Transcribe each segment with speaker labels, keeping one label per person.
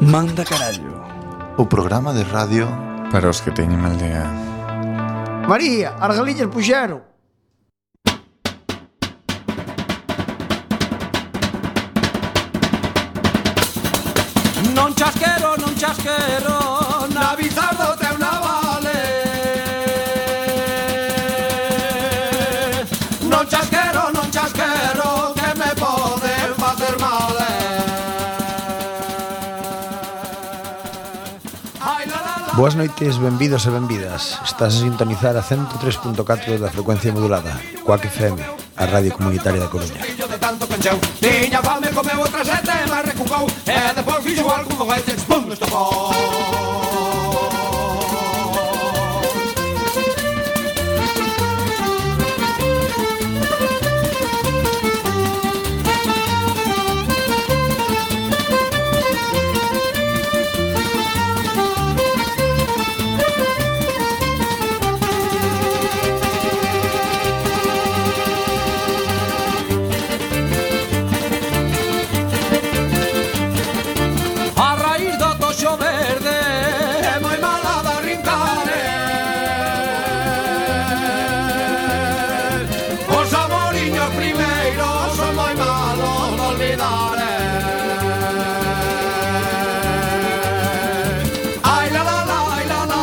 Speaker 1: Manda carallo
Speaker 2: O programa de radio
Speaker 3: Para os que teñen mal día
Speaker 4: María, Argalillas puxeron.
Speaker 5: Non chasquero, non chasquero, na bizardo te una vale. Non chasquero, non chasquero, que me poden facer mal. eh. Ai, la, la, la.
Speaker 4: Boas noites, benvidos e benvidas. Estás a sintonizar a 103.4 da frecuencia modulada, Coac FM, a radio comunitaria da Coruña.
Speaker 5: Fillo de tanto pencheu Tiña fame, comeu outra sete, Eh, mas recucou E depois fixo algún foguete, pum, estopou A raíz do toxo verde É moi mala da rincare Os amoriños primeiros Son moi malos de olvidar eh. Ai la la la, ai la la la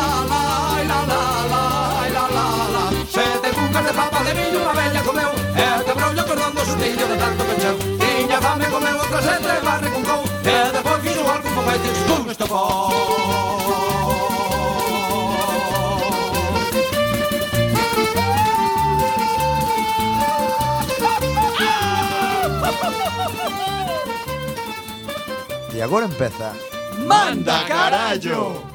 Speaker 5: Ai la la la, ai la la la Sete cucas de papa de millo Unha bella comeu E te brollo cordón do sustillo de tanto pecheu Tiña fame comeu outra sete Mas recuncou E depois fixo algún foguete Pum, estopou
Speaker 4: E agora empeza
Speaker 5: Manda carallo.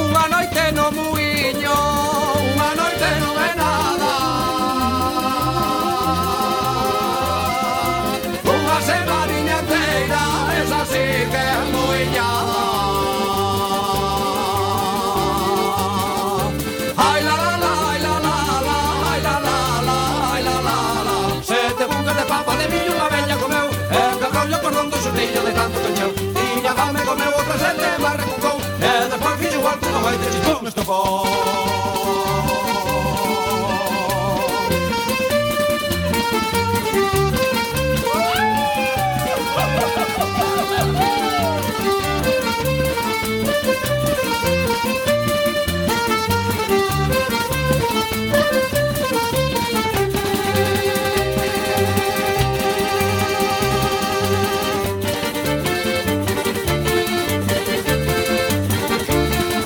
Speaker 5: Unha noite no muiño, unha noite non é nada. Unha semaniña inteira, esa sí que é muiñada. Ai la la la, ai la la la, ai la la la, ai la la la. Sete bucas de papa de millo unha bella comeu, e que rollo cordón do xurrillo de tanto cañeu. Tiña fame comeu outra sete, mas recucou, e despois fixo igual que unha baita chistón estopou.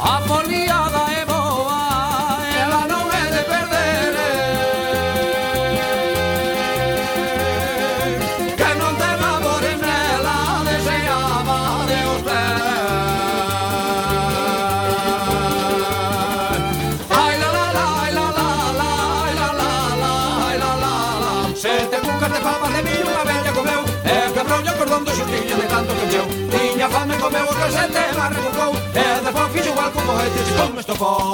Speaker 5: A foliada é boa, ela non é de perder eh. Que non te labores nela, deseaba de usted Ai la la la, ai la la la, ai la la la, ai la la la Sete cucas de papas de millo unha bella comeu Eh, E quebrou o cordón do xustillo de tanto que encheu Tiña fame comeu o sete, mas recucou E despois fixo igual como este se come estopou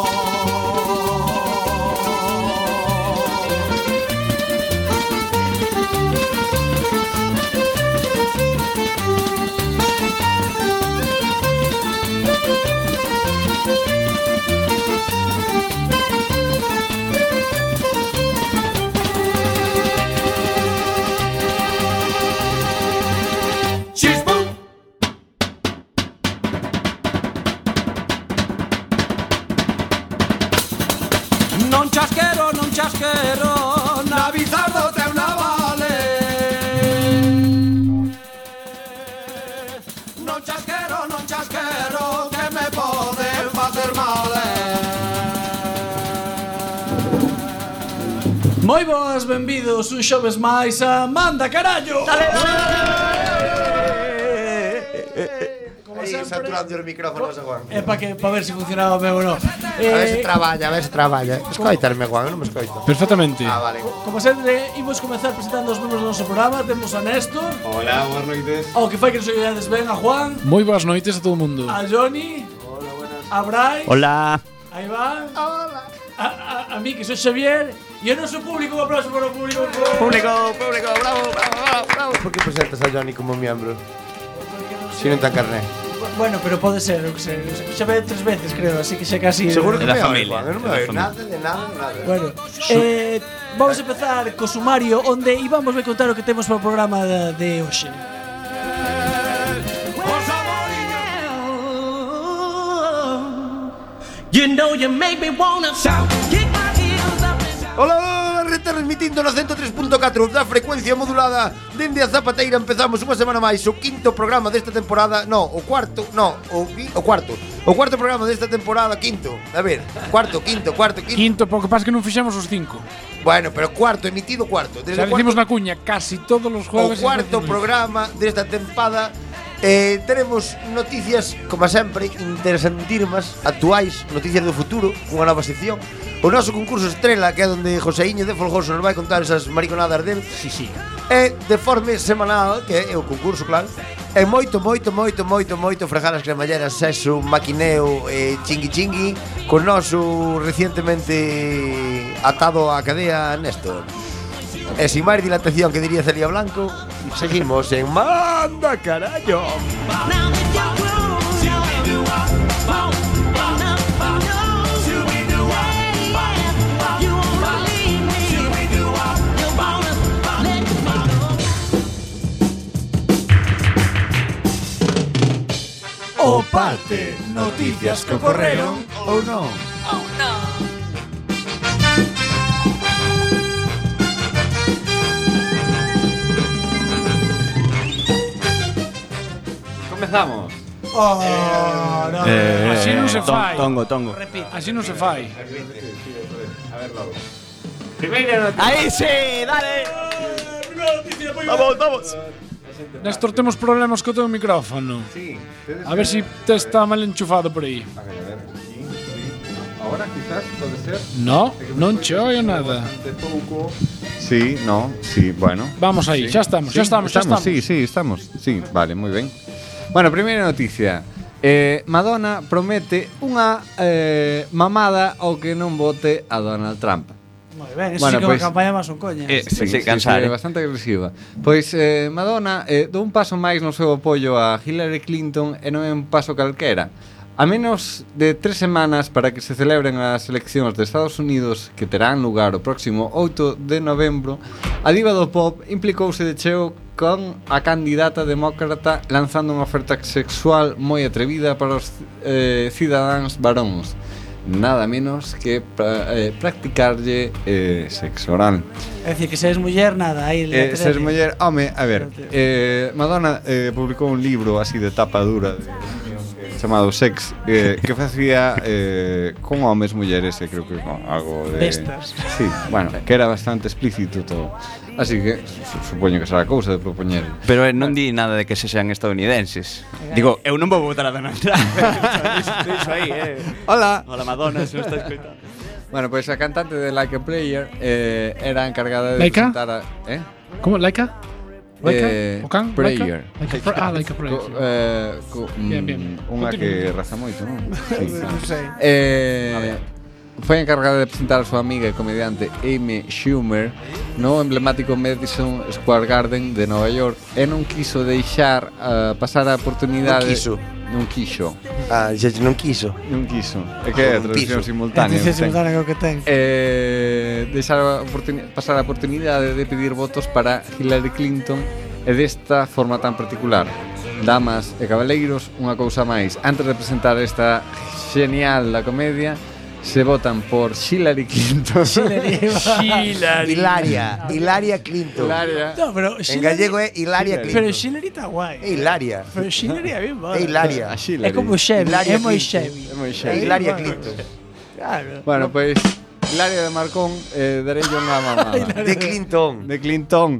Speaker 5: Chispum! Non chasquero, non chasquero, na bizardo te una vale. Non chasquero, non chasquero, que me poden facer mal.
Speaker 1: Moi boas, benvidos un xoves máis a Manda Carallo Dale,
Speaker 2: Aí, saturando os micrófonos, Juan
Speaker 1: É pa, que, pa ver se funcionaba ben ou non eh,
Speaker 2: traballa, a ver se traballa Escoitarme, Juan, non me escoito Ah,
Speaker 6: Perfectamente.
Speaker 2: vale
Speaker 1: Como sempre, imos comenzar presentando os membros do noso programa Temos a Néstor
Speaker 7: Hola, buenas noites.
Speaker 1: Ao que fai que nos ollades ben a Juan
Speaker 6: Moi boas noites a todo mundo.
Speaker 1: A Johnny A Brais
Speaker 8: Hola.
Speaker 1: Aí va. Hola. A, a, a mí, que sou Xavier, e o noso público, un aplauso para o público, por favor.
Speaker 2: Público, público, bravo, bravo, bravo, bravo. Por que presentas a Johnny como miembro? Si non tan carné.
Speaker 1: Bueno, pero pode ser, eu que sei, xa ve tres veces, creo, así que xa casi...
Speaker 2: Seguro que
Speaker 6: da
Speaker 2: me oí,
Speaker 6: familia,
Speaker 2: Juan, eu non
Speaker 6: é
Speaker 2: me
Speaker 6: da
Speaker 2: oí
Speaker 6: familia.
Speaker 2: nada de nada, de nada.
Speaker 1: Bueno, eh, vamos a empezar co sumario onde íbamos a contar o que temos para o programa da- de hoxe.
Speaker 5: You know you make me wanna shout. Kick my heels up and shout.
Speaker 2: Ola, retransmitindo no 103.4 da frecuencia modulada Dende a Zapateira empezamos unha semana máis O quinto programa desta temporada No, o cuarto, no, o, qui- o cuarto O cuarto programa desta temporada, quinto A ver, cuarto, quinto, cuarto, quinto
Speaker 7: Quinto, porque pasa que non fixemos os cinco.
Speaker 2: Bueno, pero cuarto, emitido cuarto Desde
Speaker 7: Xa
Speaker 2: o cuarto,
Speaker 7: dicimos na cuña, casi todos os
Speaker 2: o
Speaker 7: jueves. facemos isto.
Speaker 2: cuarto programa desta tempada eh, Teremos noticias, como sempre, interesantísimas Actuais, noticias do futuro, cunha nova sección O noso concurso estrela, que é onde Joseiño de Folgoso nos vai contar esas mariconadas del
Speaker 6: Sí, sí.
Speaker 2: E de forma semanal, que é o concurso, claro E moito, moito, moito, moito, moito Fregar as cremalleras, sexo, maquineo e chingui chingui Con noso recientemente atado á cadea Néstor E sin máis dilatación que diría Celia Blanco Seguimos en Manda Carallo
Speaker 1: O parte,
Speaker 2: Noticias que ocorreron ou non
Speaker 6: Comezamos.
Speaker 1: Oh, no.
Speaker 7: así non se fai.
Speaker 6: Eh, Tongo, tongo.
Speaker 7: Así non se fai.
Speaker 6: Aí sí, dale. Vamos, vamos.
Speaker 7: Néstor, temos problemas co teu micrófono.
Speaker 4: Sí,
Speaker 7: A ver se te está mal enchufado por aí.
Speaker 4: A ver, a ver. Sí, sí. Ahora quizás puede ser.
Speaker 7: No, non che oio nada.
Speaker 4: Bastante pouco.
Speaker 3: Sí, no, sí, bueno.
Speaker 7: Vamos aí, xa estamos,
Speaker 3: Sí,
Speaker 7: xa estamos, xa estamos.
Speaker 3: Sí, sí, estamos. Sí, vale, muy bien. Bueno, primeira noticia. Eh, Madonna promete unha eh, mamada ao que non vote a Donald Trump.
Speaker 1: Moi ben, eso
Speaker 3: Bueno,
Speaker 1: sí que é
Speaker 3: pois-
Speaker 1: unha campaña máis un coña.
Speaker 3: Eh, sí,
Speaker 6: Sí,
Speaker 3: sí,
Speaker 6: cansar,
Speaker 3: sí,
Speaker 6: eh.
Speaker 3: bastante agresiva. Pois eh, Madonna eh, dou un paso máis no seu apoio a Hillary Clinton e non é un paso calquera. A menos de tres semanas para que se celebren as eleccións de Estados Unidos que terán lugar o próximo 8 de novembro, a diva do pop implicouse de cheo con a candidata demócrata lanzando unha oferta sexual moi atrevida para os eh, cidadáns varóns. Nada menos que pra, eh, practicarlle eh, sexo oral.
Speaker 1: É dicir, que se és muller, nada. e Aí,
Speaker 3: Eh, ser muller, home, a ver,
Speaker 1: Lateral.
Speaker 3: eh, Madonna eh, publicou un libro así de tapa dura de- chamado Sex eh, que facía eh, con homes, mulleres e creo que con algo de...
Speaker 1: Bestas.
Speaker 3: Sí, bueno, que era bastante explícito todo. Así que su- supoño que será cousa de propoñer.
Speaker 6: Pero eh, non di nada de que se sean estadounidenses. Digo, eu non vou votar a Donald Trump. Iso aí, eh.
Speaker 3: Hola.
Speaker 6: Hola Madonna, se non está escoitando.
Speaker 3: Bueno, pois pues a cantante de Like a Player eh, era encargada de
Speaker 7: Laika?
Speaker 3: presentar a... Eh?
Speaker 7: Como, Laika? Laika?
Speaker 3: Eh,
Speaker 7: o can?
Speaker 3: prayer.
Speaker 7: Laika? Laika pra- ah, Laika Prayer.
Speaker 3: Co,
Speaker 7: sí.
Speaker 3: eh, co, mm,
Speaker 7: Bien, bien.
Speaker 3: Unha
Speaker 7: Continúe.
Speaker 3: que raza moito, non? Sí. eh, foi encargada de presentar a súa amiga e comediante Amy Schumer no emblemático Madison Square Garden de Nova York e non quiso deixar uh, pasar a oportunidade
Speaker 2: Non quiso.
Speaker 3: non quiso
Speaker 2: Ah, xa non quiso
Speaker 3: non quiso é que é a
Speaker 2: Non
Speaker 3: traducción
Speaker 2: quiso.
Speaker 3: simultánea
Speaker 1: Dice
Speaker 3: ten.
Speaker 1: simultáneo que ten.
Speaker 3: Eh, deixar a oportuni- pasar a oportunidade de pedir votos para Hillary Clinton e desta forma tan particular. Damas e cabaleiros, unha cousa máis. Antes de presentar esta genial da comedia, se votan por Hillary Clinton.
Speaker 2: Hilaria, Hilaria Clinton
Speaker 3: Hilaria.
Speaker 1: No, pero
Speaker 2: En
Speaker 1: Hillary-
Speaker 2: gallego é Hilaria
Speaker 1: Pero
Speaker 2: Clinton
Speaker 1: Hillary está guai.
Speaker 2: É Hilaria
Speaker 1: Pero Hillary é bien boa.
Speaker 2: É Hilaria
Speaker 3: A
Speaker 1: É
Speaker 3: Hillary.
Speaker 1: como Chevy,
Speaker 2: Hilaria
Speaker 1: é moi
Speaker 2: Clinton.
Speaker 1: Chevy.
Speaker 3: É moi xa.
Speaker 2: É Hilaria Clinton
Speaker 1: Claro.
Speaker 3: Bueno, pues, pois Hilaria de Marcón eh, darei unha mamada.
Speaker 2: De Clinton
Speaker 3: De Clinton.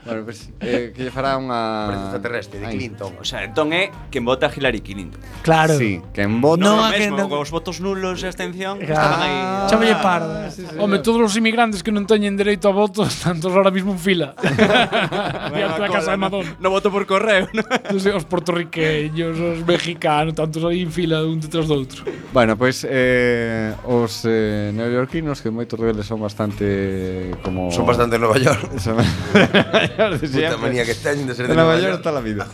Speaker 3: Bueno, pues, eh, que lle fará
Speaker 2: Parece
Speaker 3: unha...
Speaker 2: extraterrestre, de
Speaker 3: Ai.
Speaker 2: Clinton.
Speaker 6: O sea, entón é quen vota a Hillary Clinton.
Speaker 1: Claro.
Speaker 3: Sí, que en voto...
Speaker 1: No,
Speaker 6: No, é
Speaker 1: a
Speaker 6: o
Speaker 1: que
Speaker 6: mesmo,
Speaker 1: non-
Speaker 6: con os votos nulos e a abstención estaban aí.
Speaker 1: Ah, Chámalle parda.
Speaker 7: Home, todos os inmigrantes que non teñen dereito a voto están todos ahora mismo en fila. E a
Speaker 6: Cola,
Speaker 7: casa de
Speaker 6: no-
Speaker 7: Madonna.
Speaker 6: No voto por correo, ¿no?
Speaker 7: Non sei, os portorriqueños, os mexicanos, tantos aí en fila un detrás do outro.
Speaker 3: Bueno, pois eh, os eh, neoyorquinos que moitos deles son bastante como
Speaker 2: Son bastante en Nueva York.
Speaker 3: Son-
Speaker 2: Puta manía que teñen de ser
Speaker 3: De Nova York toda a vida.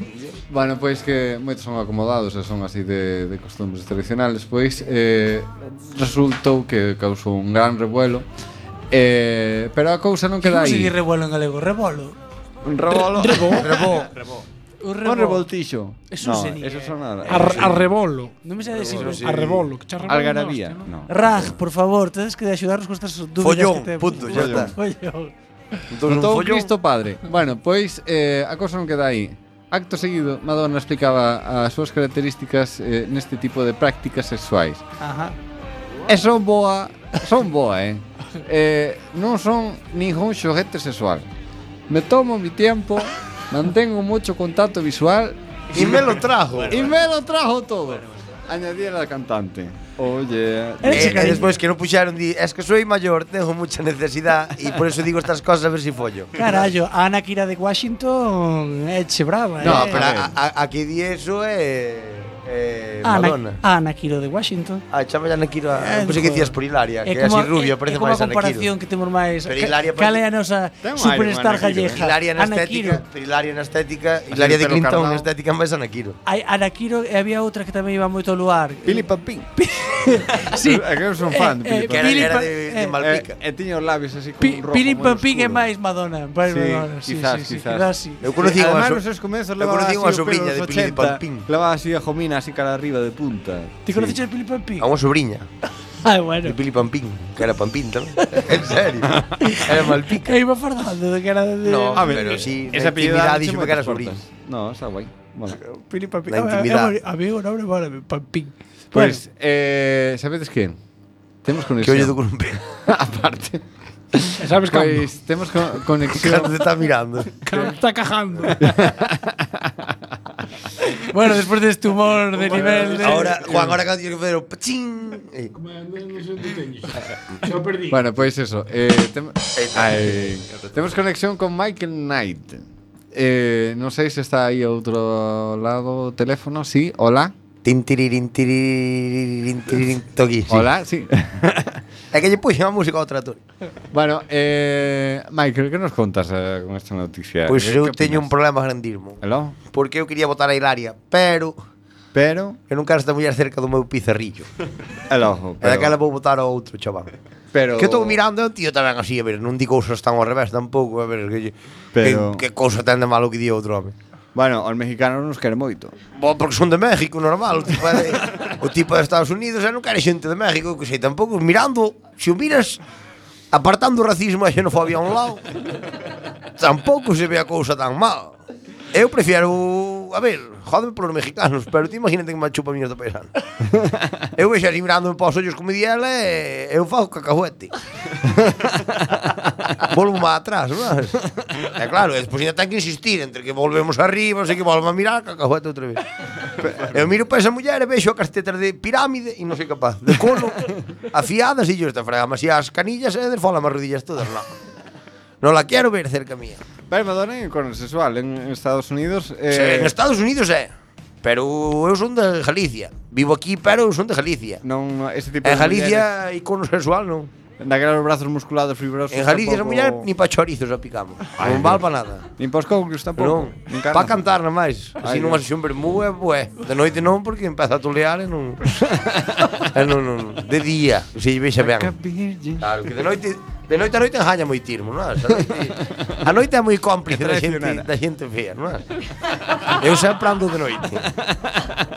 Speaker 3: bueno, pois que moitos son acomodados e son así de, de costumbres tradicionales, pois eh, resultou que causou un gran revuelo. Eh, pero a cousa non queda
Speaker 1: Como se
Speaker 3: aí.
Speaker 1: di revuelo en galego? Rebolo.
Speaker 3: Un rebolo.
Speaker 1: Un
Speaker 3: Un
Speaker 1: rebolo.
Speaker 3: revoltillo.
Speaker 1: Eso
Speaker 3: no,
Speaker 1: se ni-
Speaker 3: eso son nada.
Speaker 7: A, a rebolo.
Speaker 1: Non me sei decir.
Speaker 7: A rebolo. Que xa rebolo
Speaker 3: Algarabía.
Speaker 7: non, hostia,
Speaker 3: No.
Speaker 1: Raj, por favor, tedes que axudarnos con estas dúbidas
Speaker 2: Follón,
Speaker 1: que temos.
Speaker 2: punto, ya está.
Speaker 1: Follón.
Speaker 3: Todo Cristo Padre. Bueno, pois eh, a cosa non queda aí. Acto seguido, Madonna explicaba as súas características eh, neste tipo de prácticas sexuais.
Speaker 1: Ajá.
Speaker 3: E son boa, son boa, eh. eh non son ningún xoguete sexual. Me tomo mi tiempo, mantengo mucho contacto visual
Speaker 2: Y me lo trajo.
Speaker 3: y me lo trajo todo. Añadía la cantante. Oye.
Speaker 1: Era
Speaker 2: Eh,
Speaker 1: chica.
Speaker 2: e despois que non puxaron di, es que soy mayor, tengo mucha necesidad y por eso digo estas cosas a ver si follo.
Speaker 1: Carallo, a Ana Kira de Washington é che brava,
Speaker 3: No,
Speaker 1: eh.
Speaker 2: pero
Speaker 3: a ver.
Speaker 2: a, a, a que di eso é eh,
Speaker 1: Ana,
Speaker 2: Madonna.
Speaker 1: Ana Kira de Washington.
Speaker 2: Ah, chama ya Nakiro,
Speaker 1: Ah, Eh,
Speaker 2: pensei que
Speaker 1: joder.
Speaker 2: dicías por Hilaria, que é así rubia, parece
Speaker 1: é como
Speaker 2: máis
Speaker 1: a
Speaker 2: Ana
Speaker 1: comparación
Speaker 2: Quiro.
Speaker 1: que temos máis.
Speaker 2: Pero
Speaker 1: Ca-
Speaker 2: Hilaria
Speaker 1: Cal é a nosa
Speaker 6: Ten un aire Ana
Speaker 1: superstar
Speaker 6: Quiro.
Speaker 1: galleja?
Speaker 2: ¿eh? Hilaria na
Speaker 1: Ana Quiro.
Speaker 2: estética, Hilaria na estética, Hilaria de
Speaker 3: pelo
Speaker 2: Clinton na
Speaker 3: carnao.
Speaker 2: estética máis Ana Quiro.
Speaker 1: Hai Ana Quiro e había outra que tamén iba moito ao luar.
Speaker 3: Pili Papín.
Speaker 1: Sí.
Speaker 3: É que eu son fan de Pili
Speaker 1: Eh, eh,
Speaker 2: Que
Speaker 3: Papín.
Speaker 2: era,
Speaker 1: Pili
Speaker 2: era
Speaker 1: Pa-
Speaker 2: de, de
Speaker 1: eh,
Speaker 2: Malpica.
Speaker 3: Eh, e tiña os labios así como
Speaker 1: Pi,
Speaker 3: un rojo
Speaker 1: Pirin
Speaker 3: moi
Speaker 1: Papín é
Speaker 3: oscuro.
Speaker 1: máis Madonna. Máis
Speaker 3: Sí,
Speaker 1: Madonna. Sí,
Speaker 3: quizás,
Speaker 1: sí, sí,
Speaker 3: quizás.
Speaker 1: quizás sí.
Speaker 2: Eu conocí
Speaker 3: Eh,
Speaker 2: unha
Speaker 3: además,
Speaker 2: so-
Speaker 3: nos seus comezos
Speaker 2: eu
Speaker 3: levaba así
Speaker 2: conocí
Speaker 3: o
Speaker 2: unha
Speaker 3: pelo
Speaker 2: sobrinha
Speaker 3: nos
Speaker 2: de
Speaker 3: 80,
Speaker 2: Pili Pampín.
Speaker 3: Levaba así a jomina así cara arriba de punta.
Speaker 1: Ti conoces a Pili Papín?
Speaker 2: a unha sobrinha, de
Speaker 1: Ah, bueno.
Speaker 2: Pili Pampín, que era Pampín tamén. en serio. Era Malpica.
Speaker 1: Que iba fardando de que era de... eh,
Speaker 2: No,
Speaker 1: de-
Speaker 3: ver,
Speaker 2: pero sí,
Speaker 3: esa
Speaker 2: na intimidade dixo que era sobrinha.
Speaker 3: No, está guai. Mola.
Speaker 1: Pili Papín.
Speaker 2: la
Speaker 1: Ah, é
Speaker 2: intimidade.
Speaker 1: boni- A mí o nome mola, Papín.
Speaker 3: Pues, eh, sabedes que? Temos
Speaker 2: Que
Speaker 3: conexión.
Speaker 2: ollo do columpio.
Speaker 3: Aparte.
Speaker 7: non? E sabes cando?
Speaker 3: Pois, temos co-
Speaker 2: Cando te
Speaker 3: conexión.
Speaker 2: está mirando.
Speaker 7: Cando está cajando.
Speaker 1: Bueno, despois deste humor de nivel de...
Speaker 2: Ahora, Juan, ahora cando tienes que fazer o pachín. Eh, pues,
Speaker 7: Xa perdí.
Speaker 3: bueno, pois eso. Eh, tem- Ai. temos conexión con Michael Knight. Eh, non sei se está aí a outro lado o teléfono. Sí, hola.
Speaker 2: Tin tiririn tiririn tiririn toqui. sí.
Speaker 3: Hola, sí.
Speaker 2: É que lle puxen a música ao trator.
Speaker 3: Bueno, eh, Michael, que nos contas eh, con esta noticia?
Speaker 2: Pois
Speaker 3: Que-
Speaker 2: eu
Speaker 3: que
Speaker 2: teño
Speaker 3: opinas?
Speaker 2: Pues un problema grandísimo.
Speaker 3: Aló?
Speaker 2: Porque eu quería votar a Hilaria, pero
Speaker 3: Pero,
Speaker 2: eu non quero esta muller cerca do meu pizarrillo.
Speaker 3: el ojo,
Speaker 2: E
Speaker 3: pero,
Speaker 2: daquela vou votar ao outro chaval.
Speaker 3: pero,
Speaker 2: Que eu estou mirando é un tío tamén así, a ver, non di cousas tan ao revés tampouco, a ver, que, lle-
Speaker 3: Pero-
Speaker 2: que, que cousa tan de malo que di outro home.
Speaker 3: Bueno, os mexicanos nos queren moito.
Speaker 2: Bo, porque son de México, normal, o tipo é de, o tipo é de Estados Unidos, e non quere xente de México, que sei, tampouco, mirando, se o miras, apartando o racismo e a xenofobia a un lado, tampouco se ve a cousa tan mal. Eu prefiro, a ver, jódeme polos mexicanos, pero ti imagínate que me chupa miños do paisano. Eu vexo así mirándome para os ollos como di ela e eu fago cacahuete. Volvo má atrás, non? E claro, e despois ainda ten que insistir entre que volvemos arriba, sei que volvo a mirar, cacahuete outra vez. Eu miro para esa muller e vexo a casteta de pirámide e non sei capaz. De cono, afiadas e yo esta fraga, mas e as canillas e de fola as rodillas todas, non. Non la quero ver cerca mía.
Speaker 3: Pero Madonna é un sexual en Estados Unidos. Eh,
Speaker 2: Eh, en Estados Unidos é. Pero eu son de Galicia. Vivo aquí, pero eu son de Galicia.
Speaker 3: non, non, ese tipo de
Speaker 2: En
Speaker 3: mulleres,
Speaker 2: Galicia, icono sexual, non.
Speaker 3: Daqueles brazos musculados fibrosos.
Speaker 2: En Galicia, esa
Speaker 3: tampouco-
Speaker 2: muller, ni pa chorizos a picamos. non val pa nada.
Speaker 3: Nin pos cocos tampouco.
Speaker 2: Non,
Speaker 3: Nin carne.
Speaker 2: pa cantar na máis. Así
Speaker 3: Ai,
Speaker 2: nunha
Speaker 3: Dios.
Speaker 2: sesión bermúa, bué. De noite non, porque empeza a tolear e non... e non, non, non. De día, se lle vexa ben. Claro, que de noite... De noite a noite enjaña moi tirmo, non? é? Esa noite- A noite é moi cómplice da xente, da xente fea, non? é? Eu sempre ando de noite.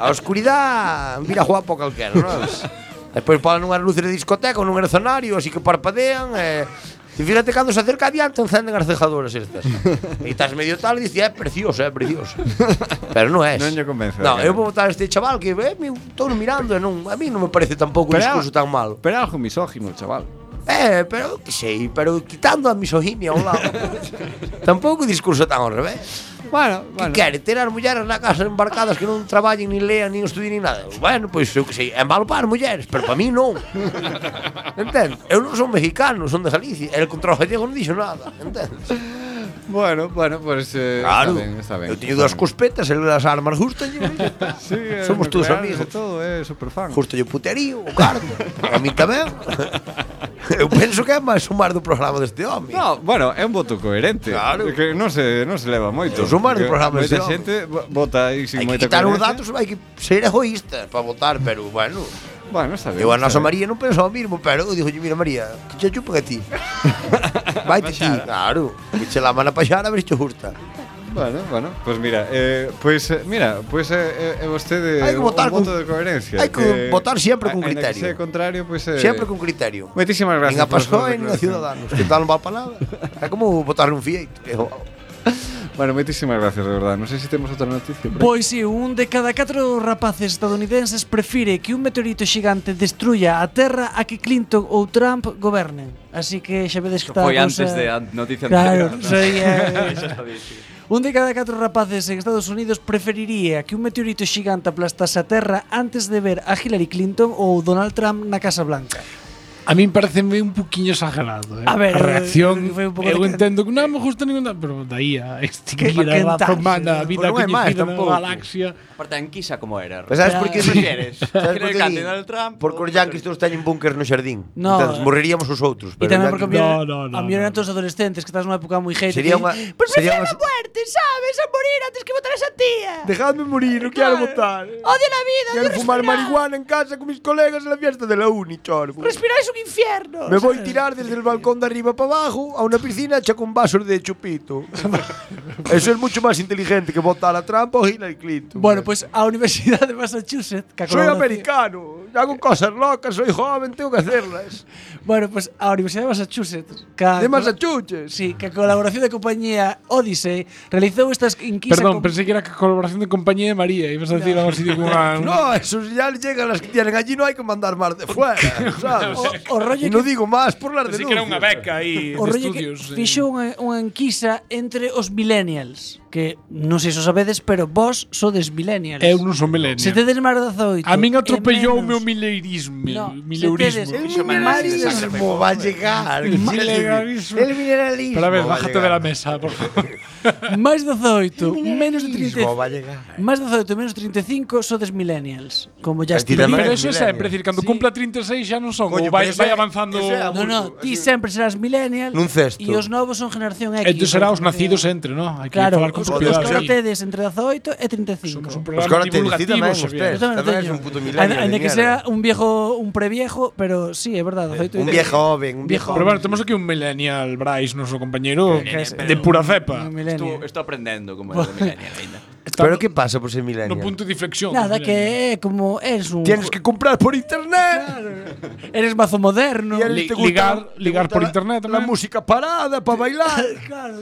Speaker 2: A oscuridade mira guapo calquera, non? é? Despois poden nunhas luces de discoteca ou nun escenario, así que parpadean e... E fíjate cando se acerca adiante encenden as cejadoras estas. E estás medio tal e dices, é precioso, é precioso. Pero non é.
Speaker 3: Non lle convence, cara.
Speaker 2: Non, eu vou votar a este chaval que eh, me estou mirando e non, a mí non me parece tampouco un
Speaker 3: Pero é-
Speaker 2: discurso tan malo.
Speaker 3: Pero é algo misógino, chaval.
Speaker 2: Eh, pero que sei, pero quitando a misoginia ao lado. tampouco o discurso tan ao revés.
Speaker 3: Bueno,
Speaker 2: Bueno. Que quere ter as mulleres na casa embarcadas que non traballen, nin lean, nin estudien, nin nada. Bueno, pois eu que sei, é malo para as mulleres, pero para mí non. Entendo? Eu non son mexicano, son de Galicia. El control gallego non dixo nada, entendes?
Speaker 3: Bueno, bueno, pues eh,
Speaker 2: Claro.
Speaker 3: está bien, está bien.
Speaker 2: eu teño dúas cospetas, el das armas justo,
Speaker 3: Sí, eh,
Speaker 2: Somos tus
Speaker 3: nucleares e
Speaker 2: amigos.
Speaker 3: todo, é eh, super fan.
Speaker 2: justo yo puterío, o cardo. A mí tamén. Eu penso que é máis sumar do programa deste home.
Speaker 3: No, bueno, é un voto coherente.
Speaker 2: Claro.
Speaker 3: Que non se, non se leva moito.
Speaker 2: Eu sumar o
Speaker 3: Porque Moita
Speaker 2: programa ese home.
Speaker 3: xente vo- vota aí sin
Speaker 2: hai que
Speaker 3: moita
Speaker 2: quitar os
Speaker 3: coherencia.
Speaker 2: datos, hai que ser egoísta para votar, pero bueno.
Speaker 3: Bueno, está ben.
Speaker 2: Eu a
Speaker 3: está
Speaker 2: nosa
Speaker 3: ben.
Speaker 2: María non pensou o mismo, pero eu dixo, mira María, que che chupa que ti. Vai ti, claro. Eche la mano para xar a ver se te gusta.
Speaker 3: Bueno, bueno, pues mira, eh, pues eh, mira, pues eh, eh, vostede
Speaker 2: Hai que votar
Speaker 3: un voto
Speaker 2: con-
Speaker 3: de coherencia.
Speaker 2: hai que votar sempre con
Speaker 3: aínda que
Speaker 2: criterio.
Speaker 3: sea contrario, pues eh,
Speaker 2: Sempre con criterio.
Speaker 3: Moitísimas gracias.
Speaker 2: Nin a
Speaker 3: pola súa
Speaker 2: Pascoe, nin a
Speaker 3: declaración.
Speaker 2: Ciudadanos, que tal non val para nada. É como votar un fieito. que é o-
Speaker 3: Bueno, moitísimas gracias, de verdad. Non sei se temos outra noticia. por aí.
Speaker 1: Pois si, un de cada catro rapaces estadounidenses prefire que un meteorito xigante destruya a Terra a que Clinton ou Trump gobernen. Así que xa vedes que está
Speaker 6: Foi
Speaker 1: a
Speaker 6: antes
Speaker 1: cousa-
Speaker 6: de a noticia
Speaker 1: Claro,
Speaker 6: anterior.
Speaker 1: soy, eh,
Speaker 6: Eso está dicido.
Speaker 1: Un de cada catro rapaces en Estados Unidos preferiría que un meteorito xigante aplastase a Terra antes de ver a Hillary Clinton ou Donald Trump na Casa Blanca.
Speaker 7: A mí me parece un poquillo exagerado. eh.
Speaker 1: A ver,
Speaker 7: a reacción.
Speaker 1: eh, foi un pouco
Speaker 7: Eu
Speaker 1: de-
Speaker 7: entendo que non me gusta ninguna. Pero daí a extinguir a
Speaker 1: Que
Speaker 7: raza
Speaker 1: quentarse,
Speaker 7: humana, a
Speaker 1: eh,
Speaker 7: vida
Speaker 2: pois non é máis
Speaker 7: coñecida na
Speaker 2: tampouco.
Speaker 7: galaxia.
Speaker 6: Por tanquisa como era.
Speaker 2: Pero Pues, sabes por que
Speaker 1: Claro.
Speaker 2: prefieres?
Speaker 6: Hillary
Speaker 2: Sabes por que
Speaker 6: Clinton,
Speaker 2: di?
Speaker 6: Donald Trump,
Speaker 2: Porque os
Speaker 6: ou-
Speaker 2: yanquis todos teñen búnker no xardín.
Speaker 1: No,
Speaker 2: Entonces,
Speaker 1: eh.
Speaker 2: morreríamos os outros.
Speaker 1: E
Speaker 2: pero
Speaker 1: tamén
Speaker 2: os
Speaker 1: porque a
Speaker 2: yanquis-
Speaker 1: mellor
Speaker 7: No, no, no,
Speaker 1: a mellor eran
Speaker 7: no.
Speaker 1: todos adolescentes que estás nunha época moi hate.
Speaker 2: Sería unha-
Speaker 1: Pois
Speaker 2: sería
Speaker 1: prefiero
Speaker 2: unha-
Speaker 1: a muerte, sabes? A morir antes que votar a esa tía.
Speaker 2: Dejadme morir, non quero votar.
Speaker 1: Odio la vida,
Speaker 2: Quero fumar marihuana en casa con mis colegas en la fiesta de la uni, choro.
Speaker 1: Respirar es un infierno.
Speaker 2: Me voy a tirar desde el balcón de arriba para abajo a una piscina hecha con vasos de chupito. Eso es mucho más inteligente que votar a Trump o Hillary Clinton.
Speaker 1: Bueno, pues a Universidad de Massachusetts, que a
Speaker 2: soy
Speaker 1: colaboración-
Speaker 2: americano, hago cosas locas, soy joven, tengo que hacerlas.
Speaker 1: Bueno, pues a Universidad de Massachusetts, que a-
Speaker 2: De Massachusetts.
Speaker 1: Sí, que a colaboración da compañía Odyssey realizou estas inquisas
Speaker 7: Perdón, pensei que era que colaboración de compañía de María. Ibas a decir algo así como una.
Speaker 2: No, esos ya llegan las que tienen allí, no hay que mandar más de fuera, ¿sabes?
Speaker 1: O- o rollo
Speaker 2: y no
Speaker 1: que-
Speaker 2: digo más por las
Speaker 7: Pensei
Speaker 2: denuncias.
Speaker 7: que era unha beca aí
Speaker 1: O
Speaker 7: de
Speaker 1: rollo que
Speaker 7: estudios. eh.
Speaker 1: fixou unha, unha enquisa entre os millennials Que non sei se o sabedes, pero vos sodes millennials
Speaker 7: Eu non son milenio.
Speaker 1: Se tedes máis de 18
Speaker 7: A min
Speaker 1: e
Speaker 7: atropellou o meu
Speaker 1: menos-
Speaker 7: mileirismo.
Speaker 1: No, se
Speaker 7: Mileirismo.
Speaker 1: tedes-
Speaker 6: Fixo máis de
Speaker 2: Madre de
Speaker 6: sangre
Speaker 2: Dios, va a llegar.
Speaker 7: Mineralismo.
Speaker 2: El mineralismo.
Speaker 7: Pero a ver,
Speaker 2: va
Speaker 7: bájate de
Speaker 2: llegar.
Speaker 7: la mesa, por favor.
Speaker 1: Máis de 18, menos de
Speaker 2: Mineralismo va
Speaker 1: 35
Speaker 2: a llegar.
Speaker 1: Máis de 18, menos de 35 sodes millennials Como ya
Speaker 2: Cantidad
Speaker 1: estive
Speaker 7: Pero
Speaker 2: Millennials.
Speaker 7: eso é sempre, é dicir, cando cumpla 36 xa non son, ou
Speaker 2: Coño,
Speaker 7: vai,
Speaker 2: pero ese-
Speaker 7: vai avanzando...
Speaker 2: ese é a-
Speaker 1: No, no, ti sempre serás millennial
Speaker 2: Nun cesto.
Speaker 1: E os novos son generación X
Speaker 7: Entón será os
Speaker 1: Generación-
Speaker 7: nacidos entre, non? Hai que
Speaker 1: Claro,
Speaker 7: falar con
Speaker 1: os os
Speaker 7: propiedade.
Speaker 1: que ahora
Speaker 7: aí.
Speaker 1: tedes entre 18 e 35
Speaker 7: Somos un
Speaker 2: Os
Speaker 7: programa
Speaker 2: que ahora te decís
Speaker 7: divulgativo,
Speaker 2: tamén,
Speaker 7: Xavier.
Speaker 2: ustedes.
Speaker 1: Yo tamén lo
Speaker 2: Tamén
Speaker 1: teño.
Speaker 2: es un puto milenio.
Speaker 1: Ainda- ainda
Speaker 2: de
Speaker 1: que
Speaker 2: mierda. Eh,
Speaker 1: sea un viejo, un previejo, pero sí, es verdad. aceite
Speaker 2: Un
Speaker 1: de-
Speaker 2: viejo joven, un viejo
Speaker 7: Pero bueno, temos aquí un millennial Brais, noso compañeiro,
Speaker 1: Que es-
Speaker 7: de pura cepa.
Speaker 1: un milenio.
Speaker 6: Estou, estou aprendendo como era de millennial ainda.
Speaker 2: Pero que pasa por ser
Speaker 7: No
Speaker 2: milenio?
Speaker 7: punto de inflexión. do
Speaker 1: Nada,
Speaker 7: millennial.
Speaker 1: que é como eres un.
Speaker 2: Tienes que comprar por internet.
Speaker 1: Eres mazo moderno.
Speaker 2: Y a él
Speaker 7: Li-
Speaker 2: te gusta-
Speaker 7: ligar-
Speaker 2: te
Speaker 7: ligar
Speaker 2: gusta
Speaker 7: por
Speaker 2: la-
Speaker 7: internet
Speaker 2: La
Speaker 7: también.
Speaker 2: música parada para bailar.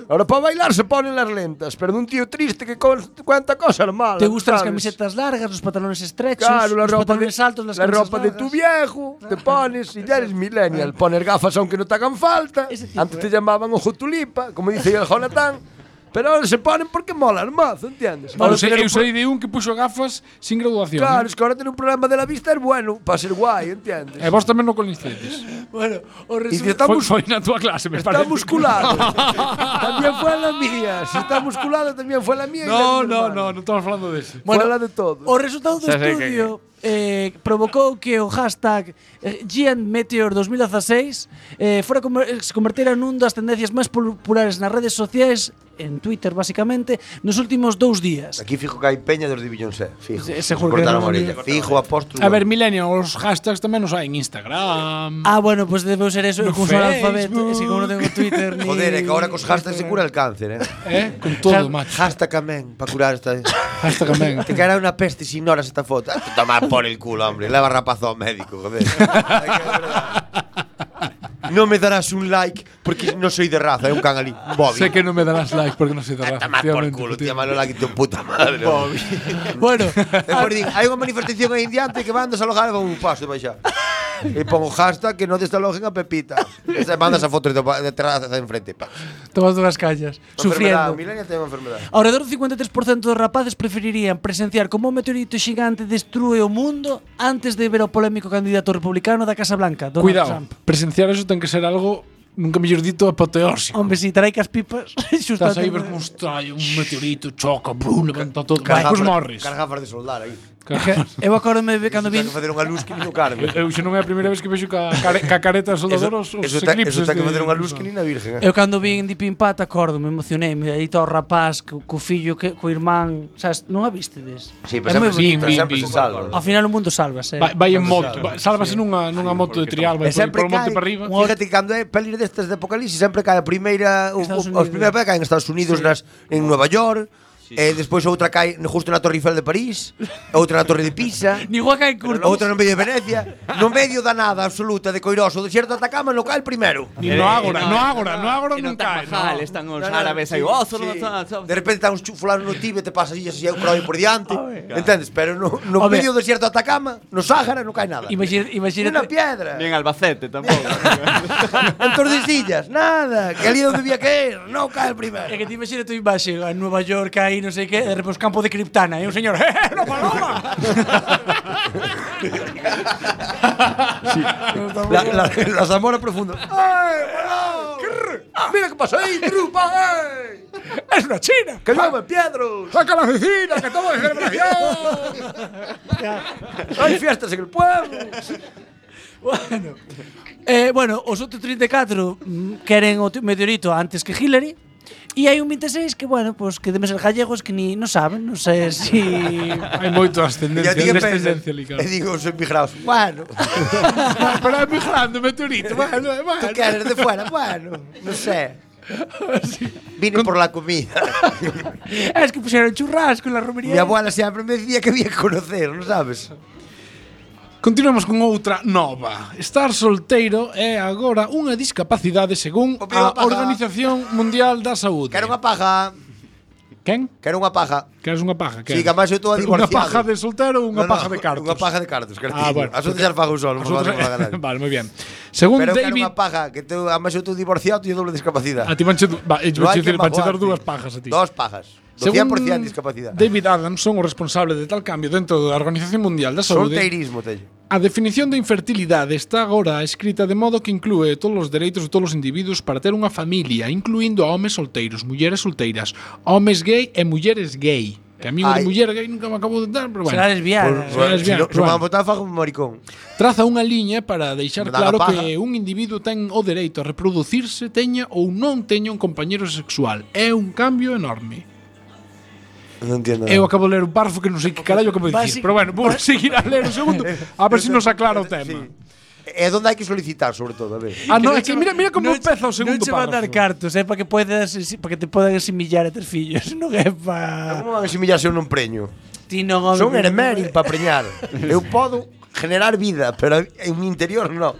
Speaker 2: Ahora para bailar se ponen las lentas, pero de un tío triste que con- cuenta cosas malas.
Speaker 1: Te gustan las
Speaker 2: ¿sabes?
Speaker 1: camisetas largas, los pantalones estrechos,
Speaker 2: Claro, la
Speaker 1: los
Speaker 2: ropa, de,
Speaker 1: pantalones altos, las
Speaker 2: la
Speaker 1: camisas
Speaker 2: ropa de
Speaker 1: largas.
Speaker 2: tu viejo, te pones y ya eres millennial. Poner gafas aunque no te hagan falta.
Speaker 1: Ese tipo,
Speaker 2: Antes te
Speaker 1: ¿eh?
Speaker 2: llamaban ojo tulipa, como dice el Jonathan. Pero ahora se ponen porque molan mazo, ¿entiendes?
Speaker 7: Eu
Speaker 2: Ahora
Speaker 7: sei,
Speaker 2: tener
Speaker 7: eu
Speaker 2: un pro-
Speaker 7: sei de un que puxo gafas sin graduación. Claro.
Speaker 2: Claro, es que ahora tener un problema de la vista es bueno, para ser guay, ¿entiendes?
Speaker 7: E vos tamén non coincides.
Speaker 1: Bueno, o
Speaker 2: Y si
Speaker 1: resulta.
Speaker 2: está,
Speaker 7: Foi,
Speaker 2: mus-
Speaker 7: foi na túa clase, me
Speaker 2: está
Speaker 7: parece.
Speaker 2: musculado. también fue la mía. Si está musculado, también fue la mía. y la
Speaker 7: No,
Speaker 2: de mi
Speaker 7: no,
Speaker 2: hermano.
Speaker 7: no, non estamos falando dese.
Speaker 2: Fue
Speaker 1: Bueno,
Speaker 2: la de todos.
Speaker 1: O resultado do
Speaker 6: Xa sei que-
Speaker 1: estudio eh, provocou que o hashtag eh, Gian Meteor 2016 eh, fora comer, se convertera nun das tendencias máis populares nas redes sociais en Twitter, basicamente, nos últimos dous días.
Speaker 2: Aquí fijo que hay peña de los de Beyoncé, fijo.
Speaker 1: Se- seguro
Speaker 2: Cortaron
Speaker 1: que no, no,
Speaker 2: orella.
Speaker 1: no.
Speaker 2: Fijo, apóstolo.
Speaker 7: A ver, Milenio, os hashtags tamén os hai en Instagram.
Speaker 1: Ah, bueno, pues debeu ser eso.
Speaker 7: No
Speaker 1: Eu como son alfabeto,
Speaker 7: Facebook.
Speaker 1: es que como non tengo Twitter ni...
Speaker 2: Joder, é que ahora cos hashtags se cura el cáncer, eh.
Speaker 7: Eh, con todo, macho.
Speaker 2: Hashtag amén, para curar esta...
Speaker 7: Hashtag amén.
Speaker 2: Te caerá una peste si ignoras esta foto. Ah, te Toma por el culo, hombre. Leva rapazo al médico, joder. Es que es verdad. Ah, No me darás un like porque no soy de raza, es un canalí. Bobby.
Speaker 7: Sé que no me darás like porque no soy de
Speaker 2: Ah,
Speaker 7: raza.
Speaker 2: Toma por
Speaker 7: efectivamente,
Speaker 2: culo,
Speaker 7: efectivamente.
Speaker 2: tía, malo like tu puta madre. Bobby.
Speaker 1: Bueno,
Speaker 2: Despois din, hai unha manifestación aí en diante que van desalojar e van un paso e baixar. e pon hashtag que non desalojen a Pepita. E se mandas a foto de, de terraza de enfrente. Pa.
Speaker 1: Tomando unhas callas,
Speaker 2: Enfermedad,
Speaker 1: sufriendo.
Speaker 2: o Millennial ten unha enfermedad.
Speaker 1: Alrededor do 53% dos rapaces preferirían presenciar como un meteorito xigante destrúe o mundo antes de ver o polémico candidato republicano da Casa Blanca, Donald
Speaker 7: Cuidado,
Speaker 1: Trump.
Speaker 7: presenciar eso ten que ser algo nunca mellor dito apoteósico.
Speaker 1: Hombre, si trae cas pipas, xusto
Speaker 7: Estás aí
Speaker 1: a
Speaker 7: ver
Speaker 1: tempo.
Speaker 7: como estalla un meteorito, choca, brum, levanta todo. Vai,
Speaker 2: Cargafas-
Speaker 7: cos morris.
Speaker 2: Cargafas de soldar aí.
Speaker 1: Eu acordome de cando
Speaker 2: Ten
Speaker 1: vin
Speaker 2: que facer unha luz que nin o Carmen.
Speaker 7: Eu xa non é a primeira vez que vexo ca, care- ca careta de soldador os, os
Speaker 2: eso, ta,
Speaker 7: eclipses.
Speaker 2: eso ten que
Speaker 7: de-
Speaker 2: facer unha luz que nin a virgen. Eh.
Speaker 1: Eu cando vin Deep Impact acordo, me emocionei, me aí todo o rapaz, co, co fillo, que, co irmán, sabes, non a vistedes?
Speaker 2: Sí,
Speaker 1: É
Speaker 2: pero sempre,
Speaker 1: moi bonito.
Speaker 2: sempre,
Speaker 7: Vin,
Speaker 2: sempre
Speaker 7: vin,
Speaker 2: se
Speaker 7: vin.
Speaker 2: salva.
Speaker 1: Ao final o mundo salvase.
Speaker 7: Vai,
Speaker 1: eh.
Speaker 7: vai en moto, va- sálvase nunha, nunha moto de trial, vai
Speaker 2: E sempre
Speaker 7: por, por monte
Speaker 2: cae-
Speaker 7: para arriba.
Speaker 2: Fíjate que cando é eh, pelis destas de apocalipsis sempre cae a primeira, o, o,
Speaker 1: Estados
Speaker 2: os
Speaker 1: Unidos.
Speaker 2: primeiros caen en Estados Unidos nas en Nova York, e despois outra cae justo na Torre Eiffel de París, outra na Torre de Pisa.
Speaker 1: Ni guaca en curto.
Speaker 2: Outra no medio de Venecia, no medio da nada absoluta de Coiroso, o deserto de Atacama, no cae el primero.
Speaker 7: Ni no agora, no agora, no
Speaker 6: E
Speaker 7: agora
Speaker 6: no
Speaker 7: non
Speaker 6: Taj
Speaker 7: cae. no.
Speaker 6: Mahal están os
Speaker 2: No, no,
Speaker 6: árabes aí.
Speaker 2: sí,
Speaker 6: "Oh, solo
Speaker 2: sí.
Speaker 6: na- solo-
Speaker 2: De repente está un chu- fulano no Tíbet, te pasa así, así, un croio por diante. Entendes? Pero no, no
Speaker 1: Home.
Speaker 2: medio do deserto de Atacama, no Sáhara, no cae nada.
Speaker 1: Imagina-
Speaker 2: Ni una
Speaker 1: Imagínate,
Speaker 2: piedra.
Speaker 6: Ni en Albacete tampouco.
Speaker 2: En Tordesillas, nada. Que ali onde debía caer, non cae el
Speaker 1: É
Speaker 2: primero.
Speaker 1: que te imaxina tú imaxe a Nueva York aí, non sei que, de repente os campos de Criptana, e un señor, "Eh, eh, no paloma!"
Speaker 2: La, la, la Zamora profunda. ¡Ay, parao! Ah, ¡Mira que pasó ahí, trupa! ¡Ay!
Speaker 1: es unha china.
Speaker 2: ¡Que llueve, Piedros!
Speaker 7: Saca la vecina, que todo es celebración.
Speaker 2: ¡Hay fiestas en el pueblo!
Speaker 1: Bueno. Eh, bueno, os outros 34 mm, queren o t- meteorito antes que Hillary. E hai un 26 que, bueno, pues, que deben ser gallegos que ni non saben, non sei se... Si...
Speaker 7: Hai moito
Speaker 2: E
Speaker 7: ascendencia,
Speaker 2: a ti que pensas?
Speaker 7: descendencia ali,
Speaker 2: E
Speaker 7: claro.
Speaker 2: digo, os emigrados, bueno,
Speaker 7: Pero é moi grande o meteorito, bueno, eh, é
Speaker 2: tú
Speaker 7: bueno.
Speaker 2: que eres de fuera, bueno, non sé. Vine por la comida.
Speaker 1: es que puxeron churrasco en la romería.
Speaker 2: Mi abuela sempre me decía que había que conocer, non sabes?
Speaker 7: Continuamos con outra nova. Estar solteiro é agora unha discapacidade según
Speaker 2: O piba
Speaker 7: a
Speaker 2: paga.
Speaker 7: Organización Mundial da Saúde.
Speaker 2: Quero unha paja,
Speaker 7: Quen?
Speaker 2: quero unha paja.
Speaker 7: Queres unha paja?
Speaker 2: Sí, que además eu estou a
Speaker 7: Unha
Speaker 2: divorciado.
Speaker 7: paja de soltero ou unha
Speaker 2: No, no,
Speaker 7: paja de cartos?
Speaker 2: Unha paja de cartos, cartiño.
Speaker 7: Ah, bueno.
Speaker 2: As outras xa fago solo,
Speaker 7: As
Speaker 2: non fago
Speaker 7: outras-
Speaker 2: paga nada.
Speaker 7: Vale, moi bien. Según
Speaker 2: Pero eu quero
Speaker 7: David...
Speaker 2: unha paja, que teu, además eu estou divorciado e doble discapacidade.
Speaker 7: A ti manche, du- va, eh,
Speaker 2: Non
Speaker 7: manche,
Speaker 2: hai que
Speaker 7: manche dar
Speaker 2: magoarte.
Speaker 7: dúas pajas a ti.
Speaker 2: Dos pajas. Do 100% discapacidade.
Speaker 7: David Adamson, o responsable de tal cambio dentro da Organización Mundial da Saúde,
Speaker 2: Solteirismo, teño.
Speaker 7: A definición de infertilidade está agora escrita de modo que inclúe todos os dereitos de todos os individuos para ter unha familia, incluindo a homes solteiros, mulleres solteiras, homes gay e mulleres gay. Que a mí unha
Speaker 2: Ai.
Speaker 7: muller gay nunca me acabo de dar, pero bueno.
Speaker 1: Será lesbiana.
Speaker 7: Por- por-
Speaker 1: Por,
Speaker 7: eres
Speaker 2: Se
Speaker 7: bien,
Speaker 2: non se
Speaker 7: Juan.
Speaker 2: me van botar, fago un maricón.
Speaker 7: Traza unha liña para deixar
Speaker 2: Me dá
Speaker 7: claro
Speaker 2: la paja.
Speaker 7: que un individuo ten o dereito a reproducirse, teña ou non teña un compañero sexual. É un cambio enorme.
Speaker 2: Non entiendo.
Speaker 7: Eu acabo de ler un párrafo que non sei que carallo acabo de dicir, Pues
Speaker 1: Basi-
Speaker 7: pero bueno, vou seguir a ler un segundo a ver se nos aclara o tema.
Speaker 2: E É onde hai que solicitar, sobre todo, a ver.
Speaker 7: Ah, non, é que mira, mira como empeza o
Speaker 1: Non
Speaker 7: segundo
Speaker 1: che van
Speaker 7: párrafo.
Speaker 1: dar cartos, é eh, para que podes, para que te podan asimillar a ter fillos, non é para...
Speaker 2: Como van a simillarse eu non preño?
Speaker 1: Ti non home,
Speaker 2: Son
Speaker 1: non-
Speaker 2: hermérin para preñar. Eu podo generar vida, pero en mi interior non.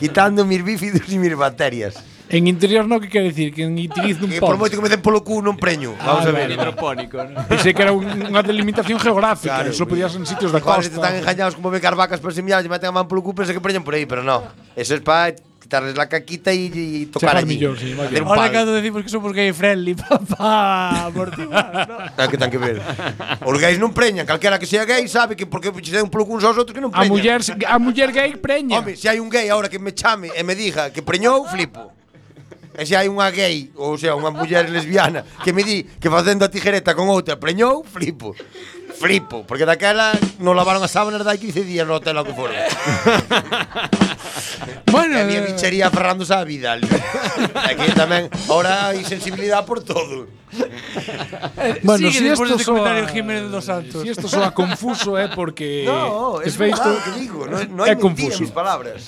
Speaker 2: Quitando mis bífidos e mis bacterias.
Speaker 7: En interior no, que quer dicir? Que en interior non
Speaker 2: Que por moito
Speaker 7: podes.
Speaker 2: que me den polo cu non preño.
Speaker 7: Ah,
Speaker 2: Vamos a ver.
Speaker 6: Hidropónico, ¿no?
Speaker 7: Pensei que era un- unha delimitación geográfica,
Speaker 2: Claro,
Speaker 7: só podías en sitios da
Speaker 2: Igual se están
Speaker 7: costa.
Speaker 2: engañados como becar vacas para semillar, lle meten a man polo cu, pensa que preñan por aí, pero non. Eso es para quitarles la caquita e, e tocar
Speaker 7: Chegar
Speaker 2: allí.
Speaker 7: millón, sí, imagino.
Speaker 2: Hacer un
Speaker 1: Ahora
Speaker 2: pal.
Speaker 1: cando decimos que somos gay friendly, papá, amortiguar, non?
Speaker 2: Ah, que ten que ver. Os gays non preñan, calquera que sea gay sabe que porque che den polo cu uns aos outros que non
Speaker 7: A
Speaker 2: preñan.
Speaker 7: muller, a muller gay preña.
Speaker 2: Home, se hai un gay agora que me chame e me diga que preñou, flipo. E se hai unha gay, ou sea, unha muller lesbiana que me di que facendo a tijereta con outra preñou, flipo. Flipo, porque daquela non lavaron as sábanas dai 15 días no hotel ao que fora.
Speaker 7: bueno,
Speaker 2: E a miña bichería aferrándose á vida. ali. Aquí tamén, ahora hai sensibilidade por todo.
Speaker 7: bueno,
Speaker 1: Sigue
Speaker 7: si
Speaker 1: despois
Speaker 7: esto
Speaker 1: deste
Speaker 7: soa,
Speaker 1: comentario Jiménez dos Santos.
Speaker 7: Si esto soa confuso é porque
Speaker 2: No,
Speaker 7: es
Speaker 2: es
Speaker 7: Eh, feito-
Speaker 2: verdade o que digo, non, non hai
Speaker 7: é
Speaker 2: mentira
Speaker 7: confuso.
Speaker 2: mis palabras.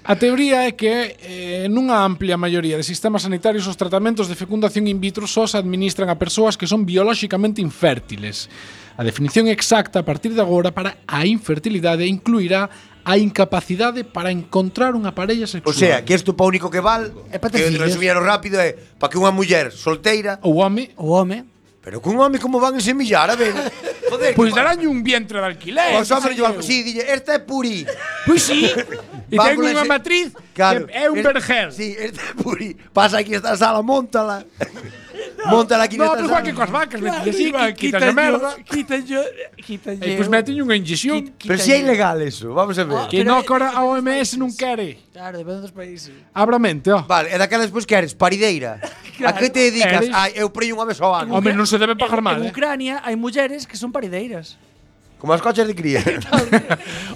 Speaker 7: A teoría é que eh, nunha amplia maioría de sistemas sanitarios os tratamentos de fecundación in vitro só se administran a persoas que son biolóxicamente infértiles. A definición exacta a partir de agora para a infertilidade incluirá a incapacidade para encontrar unha parella
Speaker 2: O
Speaker 7: sexual.
Speaker 2: sea, que isto pa único que val,
Speaker 1: É pa ter
Speaker 2: que
Speaker 1: fillos.
Speaker 2: resumíalo rápido é para que unha muller solteira
Speaker 7: o home
Speaker 1: O home
Speaker 2: Pero cun home como van a semillar, a ver. Pois, Joder,
Speaker 7: Pois
Speaker 2: que-
Speaker 7: daranlle un vientre de alquiler.
Speaker 2: Os
Speaker 7: que sei
Speaker 2: homens igual,
Speaker 7: eu.
Speaker 2: sí, dille, esta é puri.
Speaker 7: Pois sí. E
Speaker 2: Va
Speaker 7: ten
Speaker 2: por
Speaker 7: unha
Speaker 2: ese-
Speaker 7: matriz
Speaker 2: Claro.
Speaker 7: que é un
Speaker 2: es-
Speaker 7: vergel.
Speaker 2: Sí, esta é puri. Pasa aquí esta sala, móntala. móntala aquí
Speaker 7: No,
Speaker 2: nesta
Speaker 7: pero
Speaker 2: sala.
Speaker 7: igual que coas vacas,
Speaker 1: Claro,
Speaker 7: metías IVA, quitas a
Speaker 1: quítanlle-
Speaker 7: merda.
Speaker 1: quítanlle- quítanlle
Speaker 7: E pois
Speaker 1: o-
Speaker 7: meten unha inyección
Speaker 2: Pero si é ilegal eso, vamos a ver.
Speaker 1: Ah,
Speaker 7: que
Speaker 1: Pero
Speaker 7: no
Speaker 1: é-
Speaker 7: cora a OMS non quere.
Speaker 1: Claro, depende dos países.
Speaker 7: Abramente, ó.
Speaker 2: Vale, e daquela despois que eres parideira. A que te dedicas?
Speaker 7: Eres-
Speaker 2: Ai, eu prei unha vez ao ano.
Speaker 7: Home, non se debe pagar
Speaker 1: En-
Speaker 7: mal,
Speaker 1: En
Speaker 7: eh.
Speaker 1: Ucrania hai mulleres que son parideiras.
Speaker 2: Como as coches de cría.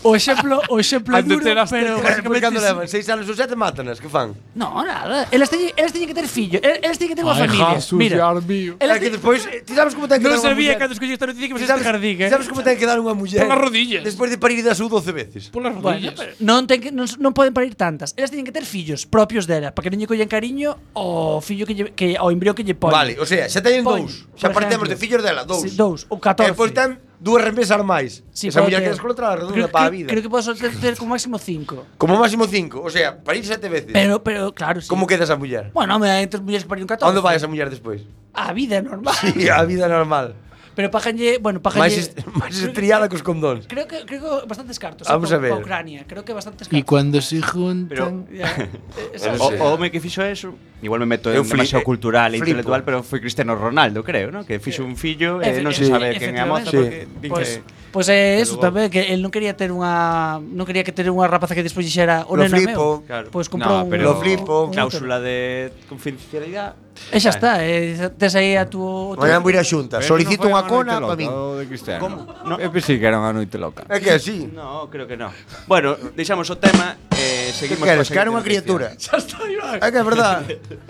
Speaker 1: O exemplo, o exemplo é
Speaker 7: Ando
Speaker 1: duro,
Speaker 7: teras tetas.
Speaker 1: pero
Speaker 2: Pois
Speaker 1: basicamente
Speaker 2: cando
Speaker 1: sí.
Speaker 2: levan seis anos ou sete, mátanas, que fan?
Speaker 1: No, nada. Elas teñen, elas teñen que ter fillo, el- elas teñen que ter unha
Speaker 7: Ai,
Speaker 1: familia.
Speaker 7: Jesús,
Speaker 1: Mira.
Speaker 7: Dios mío.
Speaker 2: É
Speaker 1: Elas
Speaker 2: que
Speaker 1: te...
Speaker 2: despois, eh, ti sabes como ten que dar
Speaker 1: Non
Speaker 2: unha
Speaker 1: sabía
Speaker 2: muller?
Speaker 1: cando escollí esta noticia que me
Speaker 2: Ti
Speaker 1: fixeste
Speaker 2: sabes,
Speaker 1: jardín, eh.
Speaker 2: sabes como ten que dar unha muller?
Speaker 7: Polas rodillas.
Speaker 2: Despois de parir das ou 12 veces.
Speaker 7: Polas
Speaker 1: Bueno,
Speaker 7: rodillas.
Speaker 1: pero non, ten que, non, s- non poden parir tantas. Elas teñen que ter fillos propios dela, para que non lle collen cariño ao fillo que, lle, que ao embrión que lle poñen.
Speaker 2: Vale, o sea, xa teñen
Speaker 1: Poñen,
Speaker 2: dous. Xa
Speaker 1: por
Speaker 2: partemos
Speaker 1: exemplo.
Speaker 2: de fillos dela, dous.
Speaker 1: Sí, dous, ou 14.
Speaker 2: E depois ten dúas remesas máis.
Speaker 1: Sí,
Speaker 2: Esa
Speaker 1: pode
Speaker 2: muller
Speaker 1: ter.
Speaker 2: que descontra a redonda
Speaker 1: Creo-
Speaker 2: para a
Speaker 1: creo-
Speaker 2: vida.
Speaker 1: Creo que podes ter, ter como máximo 5.
Speaker 2: Como máximo cinco, o sea, parir sete veces.
Speaker 1: Pero, pero, claro, sí.
Speaker 2: Como queda esa muller?
Speaker 1: Bueno, home, hai tres mulleres que parir un
Speaker 2: A
Speaker 1: 14.
Speaker 2: onde vai esa muller despois?
Speaker 1: A vida é normal.
Speaker 2: Sí, a vida normal.
Speaker 1: Pero pájanlle, bueno,
Speaker 2: Máis
Speaker 1: pájanlle...
Speaker 2: est- máis estriada que os condóns.
Speaker 1: Creo que, creo que bastantes cartos.
Speaker 2: Vamos a
Speaker 1: eh, pa-
Speaker 2: ver.
Speaker 1: pa Ucrania, creo que bastantes
Speaker 7: E
Speaker 1: cartos.
Speaker 7: cando se juntan...
Speaker 1: Ya, eh, esa-
Speaker 6: O, o home que fixo eso Igual me meto en
Speaker 2: Eu fli-
Speaker 6: demasiado
Speaker 2: eh,
Speaker 6: cultural e
Speaker 2: flipo.
Speaker 6: intelectual Pero foi Cristiano Ronaldo, creo, ¿no? Que fixo un fillo e
Speaker 1: Eh, Efe-
Speaker 6: non se
Speaker 1: sí.
Speaker 6: sabe quen é a moza Porque
Speaker 1: Efectivamente.
Speaker 2: Sí.
Speaker 6: din
Speaker 1: Pois
Speaker 6: que
Speaker 1: pois é eso
Speaker 6: luego-
Speaker 1: tamén que el non quería ter unha non quería que ter unha rapaza que despois dixera o
Speaker 2: Lo
Speaker 1: nena
Speaker 2: flipo,
Speaker 1: meu.
Speaker 6: Claro.
Speaker 1: Pois
Speaker 6: No,
Speaker 1: comprou un
Speaker 6: pero-
Speaker 2: Lo flipo.
Speaker 1: un
Speaker 6: Cláusula de confidencialidade
Speaker 1: útero. E xa está, eh, tes aí a tu,
Speaker 2: Mañá vou ir a xunta, solicito unha cona
Speaker 3: para
Speaker 2: para min.
Speaker 3: De Cristiano.
Speaker 6: Como?
Speaker 3: No. Eu pensei que era unha noite loca.
Speaker 2: É que así.
Speaker 6: No, creo que no Bueno, deixamos o tema eh,
Speaker 2: Que
Speaker 6: Seguimos
Speaker 2: queres,
Speaker 6: coa
Speaker 2: que era
Speaker 6: seguinte
Speaker 2: unha criatura.
Speaker 6: noticia.
Speaker 1: Xa está, Iván.
Speaker 2: É que é verdad.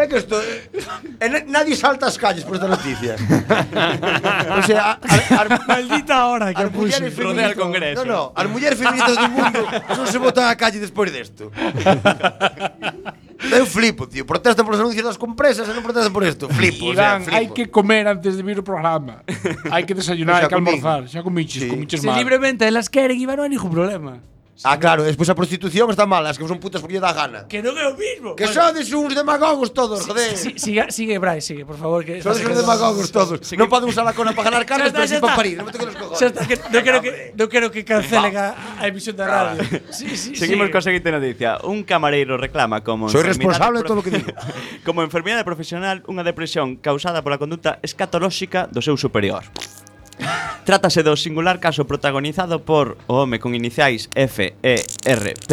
Speaker 2: É que isto... E na- nadie salta as calles por esta noticia. o sea, a, a, a,
Speaker 1: Maldita hora que
Speaker 2: as mulleres
Speaker 6: puxo. Rodea el
Speaker 2: feministas...
Speaker 6: Congreso.
Speaker 2: No, no, as mulleres feministas do mundo non se botan á calle despois desto. Eu flipo, tío. Protestan polos anuncios das compresas e non protestan por isto. Flipo,
Speaker 7: Iván,
Speaker 2: o sea, flipo.
Speaker 7: hai que comer antes de vir o programa. hai que desayunar, hai
Speaker 2: Xa
Speaker 7: que
Speaker 2: comín.
Speaker 7: almorzar. Xa comiches,
Speaker 2: Sí.
Speaker 7: comiches
Speaker 1: Se
Speaker 7: mal.
Speaker 1: libremente elas queren Iván non hai ningún problema.
Speaker 2: Ah, claro, despois a prostitución está mal, as que son putas porque lle dá gana.
Speaker 1: Que non é o mismo.
Speaker 2: Que sodes uns demagogos todos, joder.
Speaker 1: Si- siga, sigue, Brai, sigue, por favor. Que
Speaker 2: Sodes uns demagogos todos. non poden usar a cona para ganar carnes,
Speaker 1: Ya está,
Speaker 2: pero
Speaker 1: ya
Speaker 2: si para
Speaker 1: está.
Speaker 2: parir. Non me toquen os cojones.
Speaker 1: Xa está, que non quero que, non quero que cancelen a, a emisión da radio. Sí, sí,
Speaker 6: Seguimos
Speaker 1: sigue.
Speaker 6: coa seguinte noticia. Un camareiro reclama como
Speaker 2: Soy
Speaker 6: enfermidade
Speaker 2: responsable de
Speaker 6: profe-
Speaker 2: todo o que digo.
Speaker 6: como enfermidade profesional unha depresión causada pola conduta escatolóxica do seu superior. Trátase do singular caso protagonizado por o home con iniciais FERP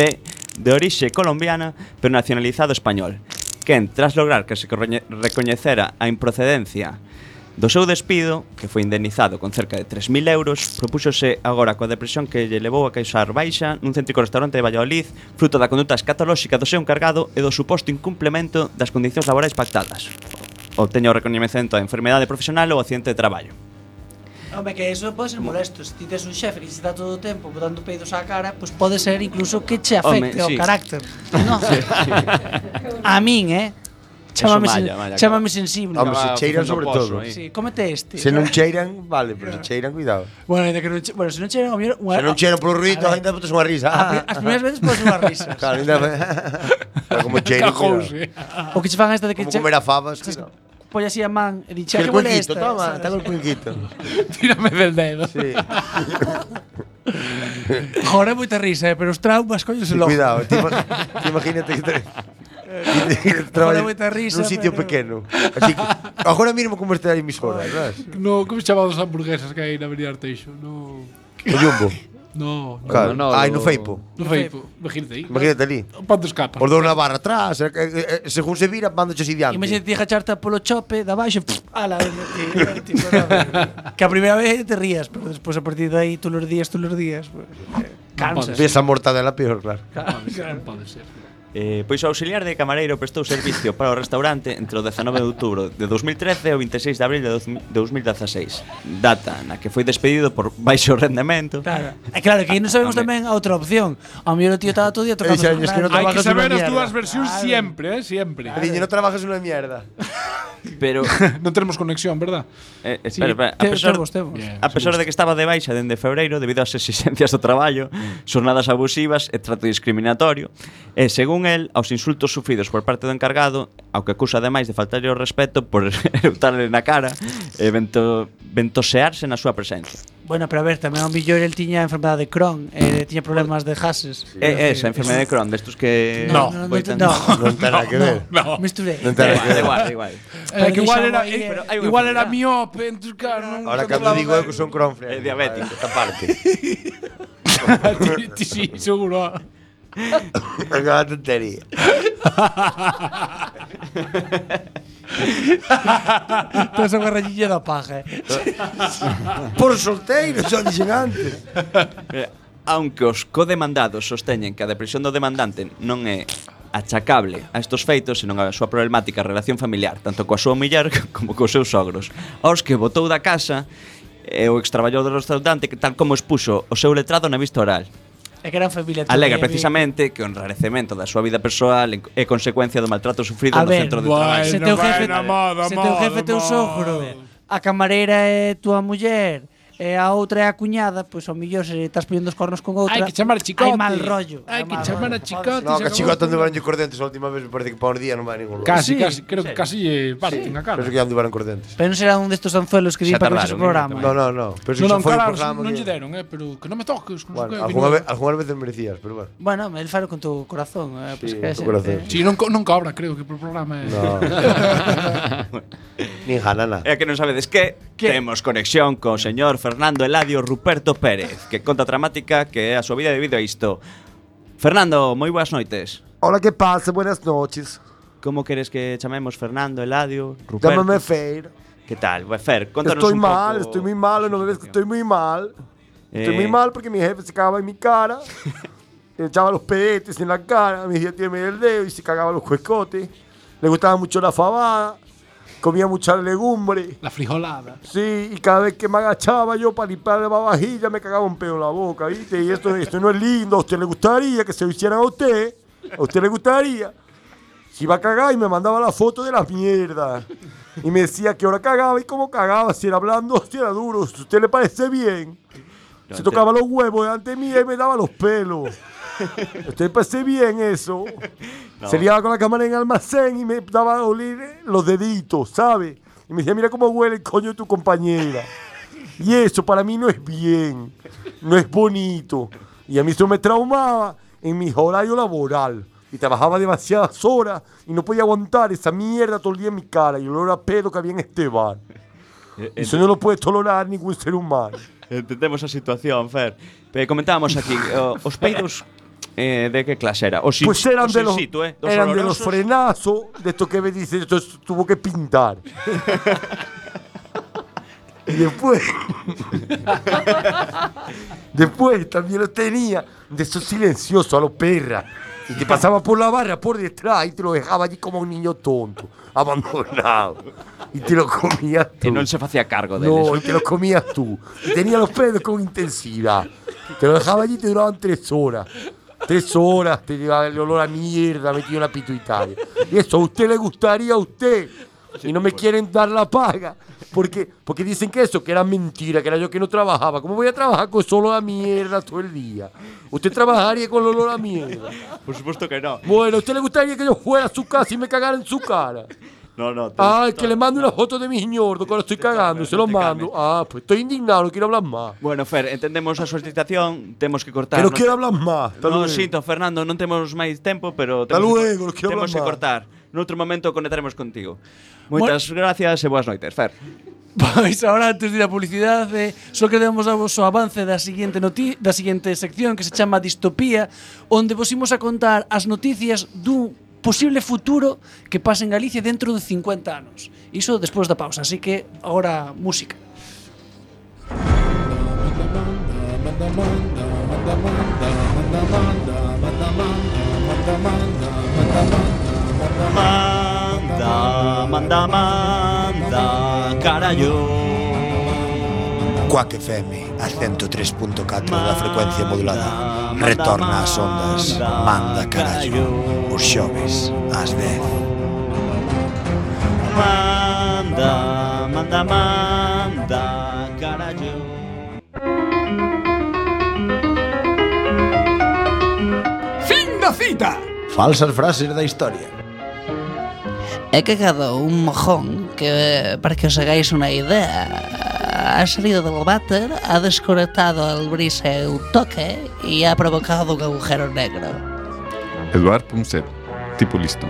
Speaker 6: de orixe colombiana pero nacionalizado español quen, tras lograr que se corroñe- recoñecera a improcedencia do seu despido, que foi indemnizado con cerca de 3.000 euros, propúxose agora coa depresión que lle levou a causar baixa nun céntrico restaurante de Valladolid fruto da conduta escatolóxica do seu encargado e do suposto incumplemento das condicións laborais pactadas. Obteña o recoñecemento da enfermedade profesional ou accidente de traballo.
Speaker 1: Home, que eso pode ser molesto. Se ti tes un xefe que se está todo o tempo botando peidos á cara, pois pode ser incluso que che
Speaker 6: Home,
Speaker 1: afecte ao
Speaker 6: sí.
Speaker 1: carácter. No. A min, eh? Chámame, sen,
Speaker 6: malla, malla,
Speaker 1: chámame sensible.
Speaker 2: Home, se
Speaker 6: Acaba facendo
Speaker 2: cheiran sobre
Speaker 6: pozo
Speaker 2: todo.
Speaker 6: aí.
Speaker 1: Sí, cómete este.
Speaker 2: Se non cheiran, vale, pero se cheiran, cuidado.
Speaker 1: Bueno, ainda que non che... Bueno, se non che... ao mellor, unha-
Speaker 2: Se non cheiran polo ruido,
Speaker 1: A ver,
Speaker 2: ainda botas unha risa.
Speaker 1: a pri- As primeiras veces podes unha risa.
Speaker 2: Claro, ainda... Pero como cheiran, cuidado.
Speaker 7: Cajouse.
Speaker 1: O que che fan esta de que
Speaker 2: Como
Speaker 1: che...
Speaker 2: comer a favas, cuidado.
Speaker 1: Pois así a man e dixe,
Speaker 2: Que el
Speaker 1: "Ah, que huele
Speaker 2: cuenquito,
Speaker 1: esta.
Speaker 2: toma,
Speaker 1: sabes?
Speaker 2: tengo el cuenquito.
Speaker 7: Tírame del dedo.
Speaker 2: Sí,
Speaker 1: Joder, moita risa, eh, pero os traumas, coño, se
Speaker 2: sí,
Speaker 1: logo.
Speaker 2: cuidado. Te, ima- te imagínate que te- que te-
Speaker 1: Joder, moita
Speaker 2: nun
Speaker 1: risa,
Speaker 2: sitio
Speaker 1: pero-
Speaker 2: pequeno. Así que, agora mínimo como esta emisora, sabes?
Speaker 7: No, como se chamaban os hamburguesas que hai na Avenida Arteixo? No,
Speaker 2: O Jumbo.
Speaker 7: no, no,
Speaker 2: Claro.
Speaker 3: no,
Speaker 2: Ai,
Speaker 3: no.
Speaker 2: no Feipo.
Speaker 7: no Feipo. Imagínate aí.
Speaker 2: Imagínate ali.
Speaker 7: Pando escapa.
Speaker 2: Os dous na barra atrás, eh, eh, eh, según se vira, mandache así diante.
Speaker 1: Imagínate ti agacharte polo chope da baixo, pff, ala, eh, ti- ti- eh". que a primeira vez te rías, pero despois a partir de aí tú los días, tú los días, pues, eh, cansas.
Speaker 2: Ves a mortadela peor, claro.
Speaker 7: Non pode ser.
Speaker 6: Eh, pois o auxiliar de camareiro prestou servicio para o restaurante entre o 19 de outubro de 2013 e o 26 de abril de doce- 2016 Data na que foi despedido por baixo rendemento
Speaker 1: Claro. E claro, que aí non sabemos
Speaker 6: Home.
Speaker 1: tamén a outra opción. Ao mellor o tío estaba todo o día tocando.
Speaker 2: Dixen, "Es que non
Speaker 7: Hai
Speaker 1: Ai,
Speaker 7: que
Speaker 2: Trabajas
Speaker 7: saber
Speaker 2: una
Speaker 7: as
Speaker 2: mierda.
Speaker 7: dúas versións sempre, eh, sempre.
Speaker 2: Niño, no trabajas una mierda.
Speaker 6: Pero,
Speaker 7: Non tenemos conexión, verdad?
Speaker 6: eh, espera, espera, a
Speaker 1: te-
Speaker 6: pesar,
Speaker 1: temos, temos.
Speaker 6: a pesar de que estaba de baixa dende febreiro debido ás exigencias do traballo, xornadas abusivas e trato discriminatorio, e según el, aos insultos sufridos por parte do encargado, ao que acusa ademais de faltarlle o respeto por erutarle na cara e vento, ventosearse na súa presencia.
Speaker 1: Bueno, pero a ver, tamén o millor el tiña enfermedade de Crohn, eh, tiña problemas de gases.
Speaker 6: É Eh, esa enfermedade de Crohn, destos que
Speaker 1: No, no, no,
Speaker 6: boitan-
Speaker 1: no,
Speaker 2: Non ten nada que ver.
Speaker 1: no. Misturei.
Speaker 2: Non
Speaker 6: Da
Speaker 2: ten
Speaker 6: igual, da
Speaker 2: nada que ver.
Speaker 6: igual, da igual.
Speaker 7: Eh, que igual era,
Speaker 1: Pero
Speaker 7: eh,
Speaker 6: hay una
Speaker 7: igual era
Speaker 6: enfermedad.
Speaker 7: miope, entonces, claro, no-
Speaker 2: Ahora
Speaker 7: no
Speaker 2: cando
Speaker 7: hablaba
Speaker 2: digo eu
Speaker 7: de-
Speaker 2: que son cronfle.
Speaker 6: É diabético.
Speaker 2: Esta parte.
Speaker 7: Ti-
Speaker 2: eh,
Speaker 7: ti sí, seguro.
Speaker 2: Acaba a tontería.
Speaker 1: Pero son garrallilla da paja. eh.
Speaker 2: Por solteiro, xa dixen antes.
Speaker 6: Eh, Aunque os codemandados sosteñen que a depresión do demandante non é achacable a estos feitos, senón a súa problemática relación familiar, tanto coa súa muller como cos seus sogros. Aos que botou da casa e o extraballou do restaurante que tal como expuxo o seu letrado na vista oral.
Speaker 1: É que eran familia tamén,
Speaker 6: Alega
Speaker 1: eh,
Speaker 6: precisamente que o enrarecemento da súa vida persoal é consecuencia do maltrato sufrido
Speaker 1: A
Speaker 6: no
Speaker 1: ver,
Speaker 6: centro de
Speaker 7: guai,
Speaker 6: traballo.
Speaker 1: Se teu
Speaker 7: Bueno,
Speaker 1: jefe,
Speaker 7: bueno, modo,
Speaker 1: se teu jefe
Speaker 7: modo,
Speaker 1: teu
Speaker 7: modo.
Speaker 1: sogro, a camareira é túa muller, e a outra é a cuñada, pois ao mellor se estás poñendo os cornos con
Speaker 7: Hai
Speaker 1: outra.
Speaker 7: que chamar a Chicote.
Speaker 1: Hai mal rollo.
Speaker 7: Hai que
Speaker 1: mal
Speaker 7: chamar a
Speaker 1: rollo.
Speaker 7: Chicote.
Speaker 2: No,
Speaker 7: se
Speaker 2: que
Speaker 7: acabou.
Speaker 2: chicote anduveron cos dentes a última vez, me parece que pa un día non vai a ningún lugar.
Speaker 7: Casi,
Speaker 1: Sí,
Speaker 7: casi, creo que casi eh, parten a cara.
Speaker 2: Penso que anduveron cos dentes.
Speaker 1: Pero non será un destos anzuelos que
Speaker 6: Xa
Speaker 1: di para
Speaker 6: tardaron,
Speaker 1: que o
Speaker 6: eh,
Speaker 1: programa.
Speaker 2: No, no, no.
Speaker 7: No, no,
Speaker 2: Penso que xa foi un
Speaker 7: claro,
Speaker 2: programa
Speaker 7: non lle
Speaker 2: que...
Speaker 7: deron, eh, pero que non me toques. non
Speaker 2: Bueno,
Speaker 7: sei que,
Speaker 2: algunha
Speaker 7: que
Speaker 2: vez,
Speaker 7: non-
Speaker 2: algunha vez merecías, pero bueno.
Speaker 1: Bueno, el falo con tu corazón. Eh, pois
Speaker 2: Sí,
Speaker 1: que
Speaker 2: tu
Speaker 1: se-
Speaker 2: corazón.
Speaker 1: eh.
Speaker 7: Sí, non, co- non cobra, creo que por programa. eh.
Speaker 2: No. Nin janana.
Speaker 6: É que non sabedes que temos conexión co señor Fernando Eladio Ruperto Pérez, que conta a dramática que é a súa vida debido a isto. Fernando, moi boas noites.
Speaker 8: Hola, ¿qué pasa? Buenas noches.
Speaker 6: Como queres que chamemos Fernando Eladio Ruperto?
Speaker 8: Llámame Fer.
Speaker 6: Que tal? Bueno, Fer, contanos
Speaker 8: Estoy
Speaker 6: un
Speaker 8: mal,
Speaker 6: pouco
Speaker 8: estoy muy malo, no me ves que estoy muy mal. Estoy muy
Speaker 6: Eh.
Speaker 8: mal porque mi jefe se cagaba en mi cara. Le echaba los pedetes en la cara, me decía tiene el dedo y se cagaba los cuescotes. Le gustaba mucho la fabada, comía mucha legumbre.
Speaker 7: La frijolada.
Speaker 8: Sí, y cada vez que me agachaba yo para limpiar la vajilla me cagaba un pedo en la boca, ¿viste? Y esto, esto no es lindo, a usted le gustaría que se lo hicieran a usted, a usted le gustaría. Se iba a cagar y me mandaba la foto de las mierdas. Y me decía que ahora cagaba y cómo cagaba, si era blando, si era duro, si a usted le parece bien. Se tocaba los huevos delante mía y me daba los pelos. A usted le parece bien eso. Se liaba con la cámara en el almacén y me daba a oler los deditos, ¿sabes? Y me decía, mira cómo huele el coño de tu compañera. Y eso para mí no es bien, no es bonito. Y a mí eso me traumaba en mi horario laboral. Y trabajaba demasiadas horas y no podía aguantar esa mierda todo el día en mi cara y el olor a pedo que había en este bar. Eso no lo puede tolerar ningún ser humano.
Speaker 6: Entendemos a situación, Fer. Pero comentábamos aquí, o- os peidos eh, de que clase era? Os in-
Speaker 8: Pues eran
Speaker 6: os
Speaker 8: de
Speaker 6: in
Speaker 8: los,
Speaker 6: situ, eh? Dos
Speaker 8: eran de los
Speaker 6: olorosos.
Speaker 8: frenazos de esto que me dice, esto es- tuvo que pintar. y después, después también lo tenía de esos silenciosos a los perras. Y te pasaba por la barra, por detrás, y te lo dejaba allí como un niño tonto, abandonado. Y te lo comías tú.
Speaker 6: E non se facía cargo deles.
Speaker 8: No, y te los comías tú. Y tenía los pedos con intensidad. Te los dejaba allí y te duraban tres horas. Tres horas, te llevaba el olor a mierda metido en la pituitaria. Y eso a usted le gustaría a usted. Y no me quieren dar la paga. Porque, porque dicen que eso, que era mentira, que era yo que no trabajaba. ¿Cómo voy a trabajar con solo la mierda todo el día? Usted trabajaría con el olor a mierda.
Speaker 6: Por suposto que no.
Speaker 8: Bueno, ¿a usted le gustaría que yo fuera a su casa y me cagara en su cara?
Speaker 6: No, no. te-
Speaker 8: Ay, que le mando una foto de mi ñordo cuando estoy cagando, se lo
Speaker 6: te calmes.
Speaker 8: mando. Ah, pues estoy indignado, no quiero hablar más.
Speaker 6: Bueno, Fer, entendemos a súa excitación, temos que cortar.
Speaker 8: Pero
Speaker 6: non-
Speaker 8: quiero hablar más. Hasta
Speaker 6: Non
Speaker 8: luego.
Speaker 6: sinto, Fernando, non temos máis tempo, pero
Speaker 8: Hasta
Speaker 6: temos,
Speaker 8: luego, os
Speaker 6: que,
Speaker 8: quiero
Speaker 6: temos que
Speaker 8: hablar máis.
Speaker 6: cortar. Noutro momento conectaremos contigo. Moitas gracias e boas noites, Fer.
Speaker 1: Pois ahora antes de ir á publicidade, só queremos dar vos o avance da siguiente noti da siguiente sección que se chama Distopía, onde vos imos a contar as noticias dun posible futuro que pase en Galicia dentro de 50 anos. Iso despois da pausa, así que agora música.
Speaker 6: Manda, manda, manda, carallo.
Speaker 4: Quack FM, a 103.4 da frecuencia modulada. Retorna ás ondas, manda carallo, os xoves ás 10.
Speaker 6: Manda, manda, manda, carallo.
Speaker 4: Falsas frases da historia.
Speaker 9: He cagado un mojón que, para que os hagáis una idea, ha salido del váter, ha desconectado el brise un toque y ha provocado un agujero negro.
Speaker 10: Eduard Punset, tipo listo.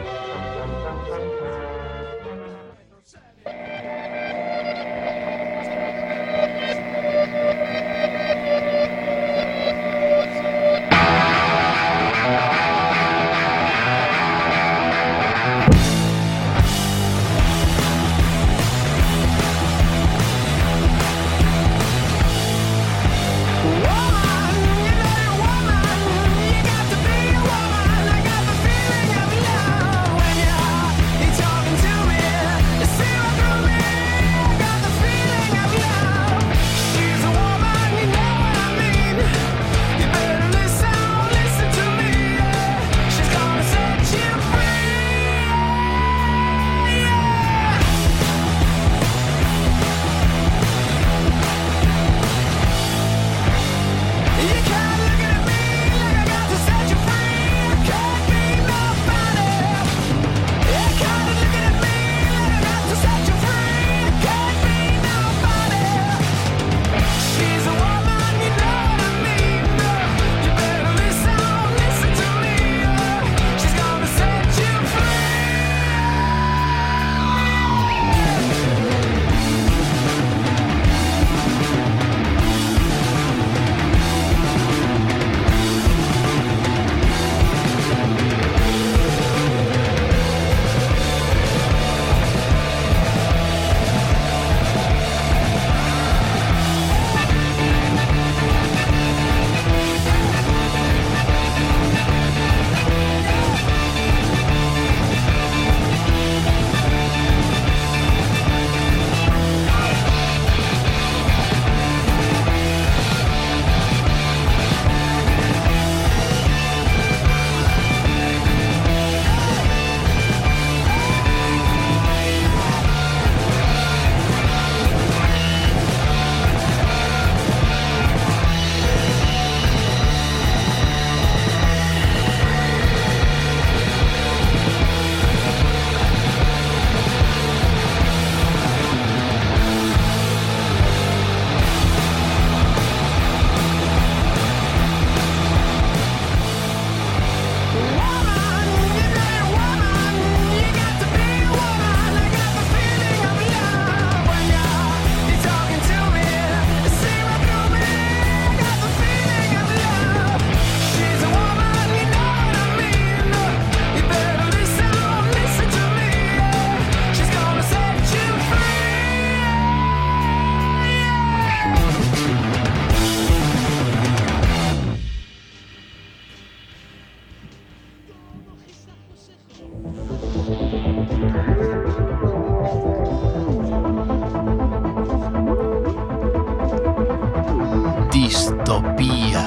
Speaker 11: Distopía.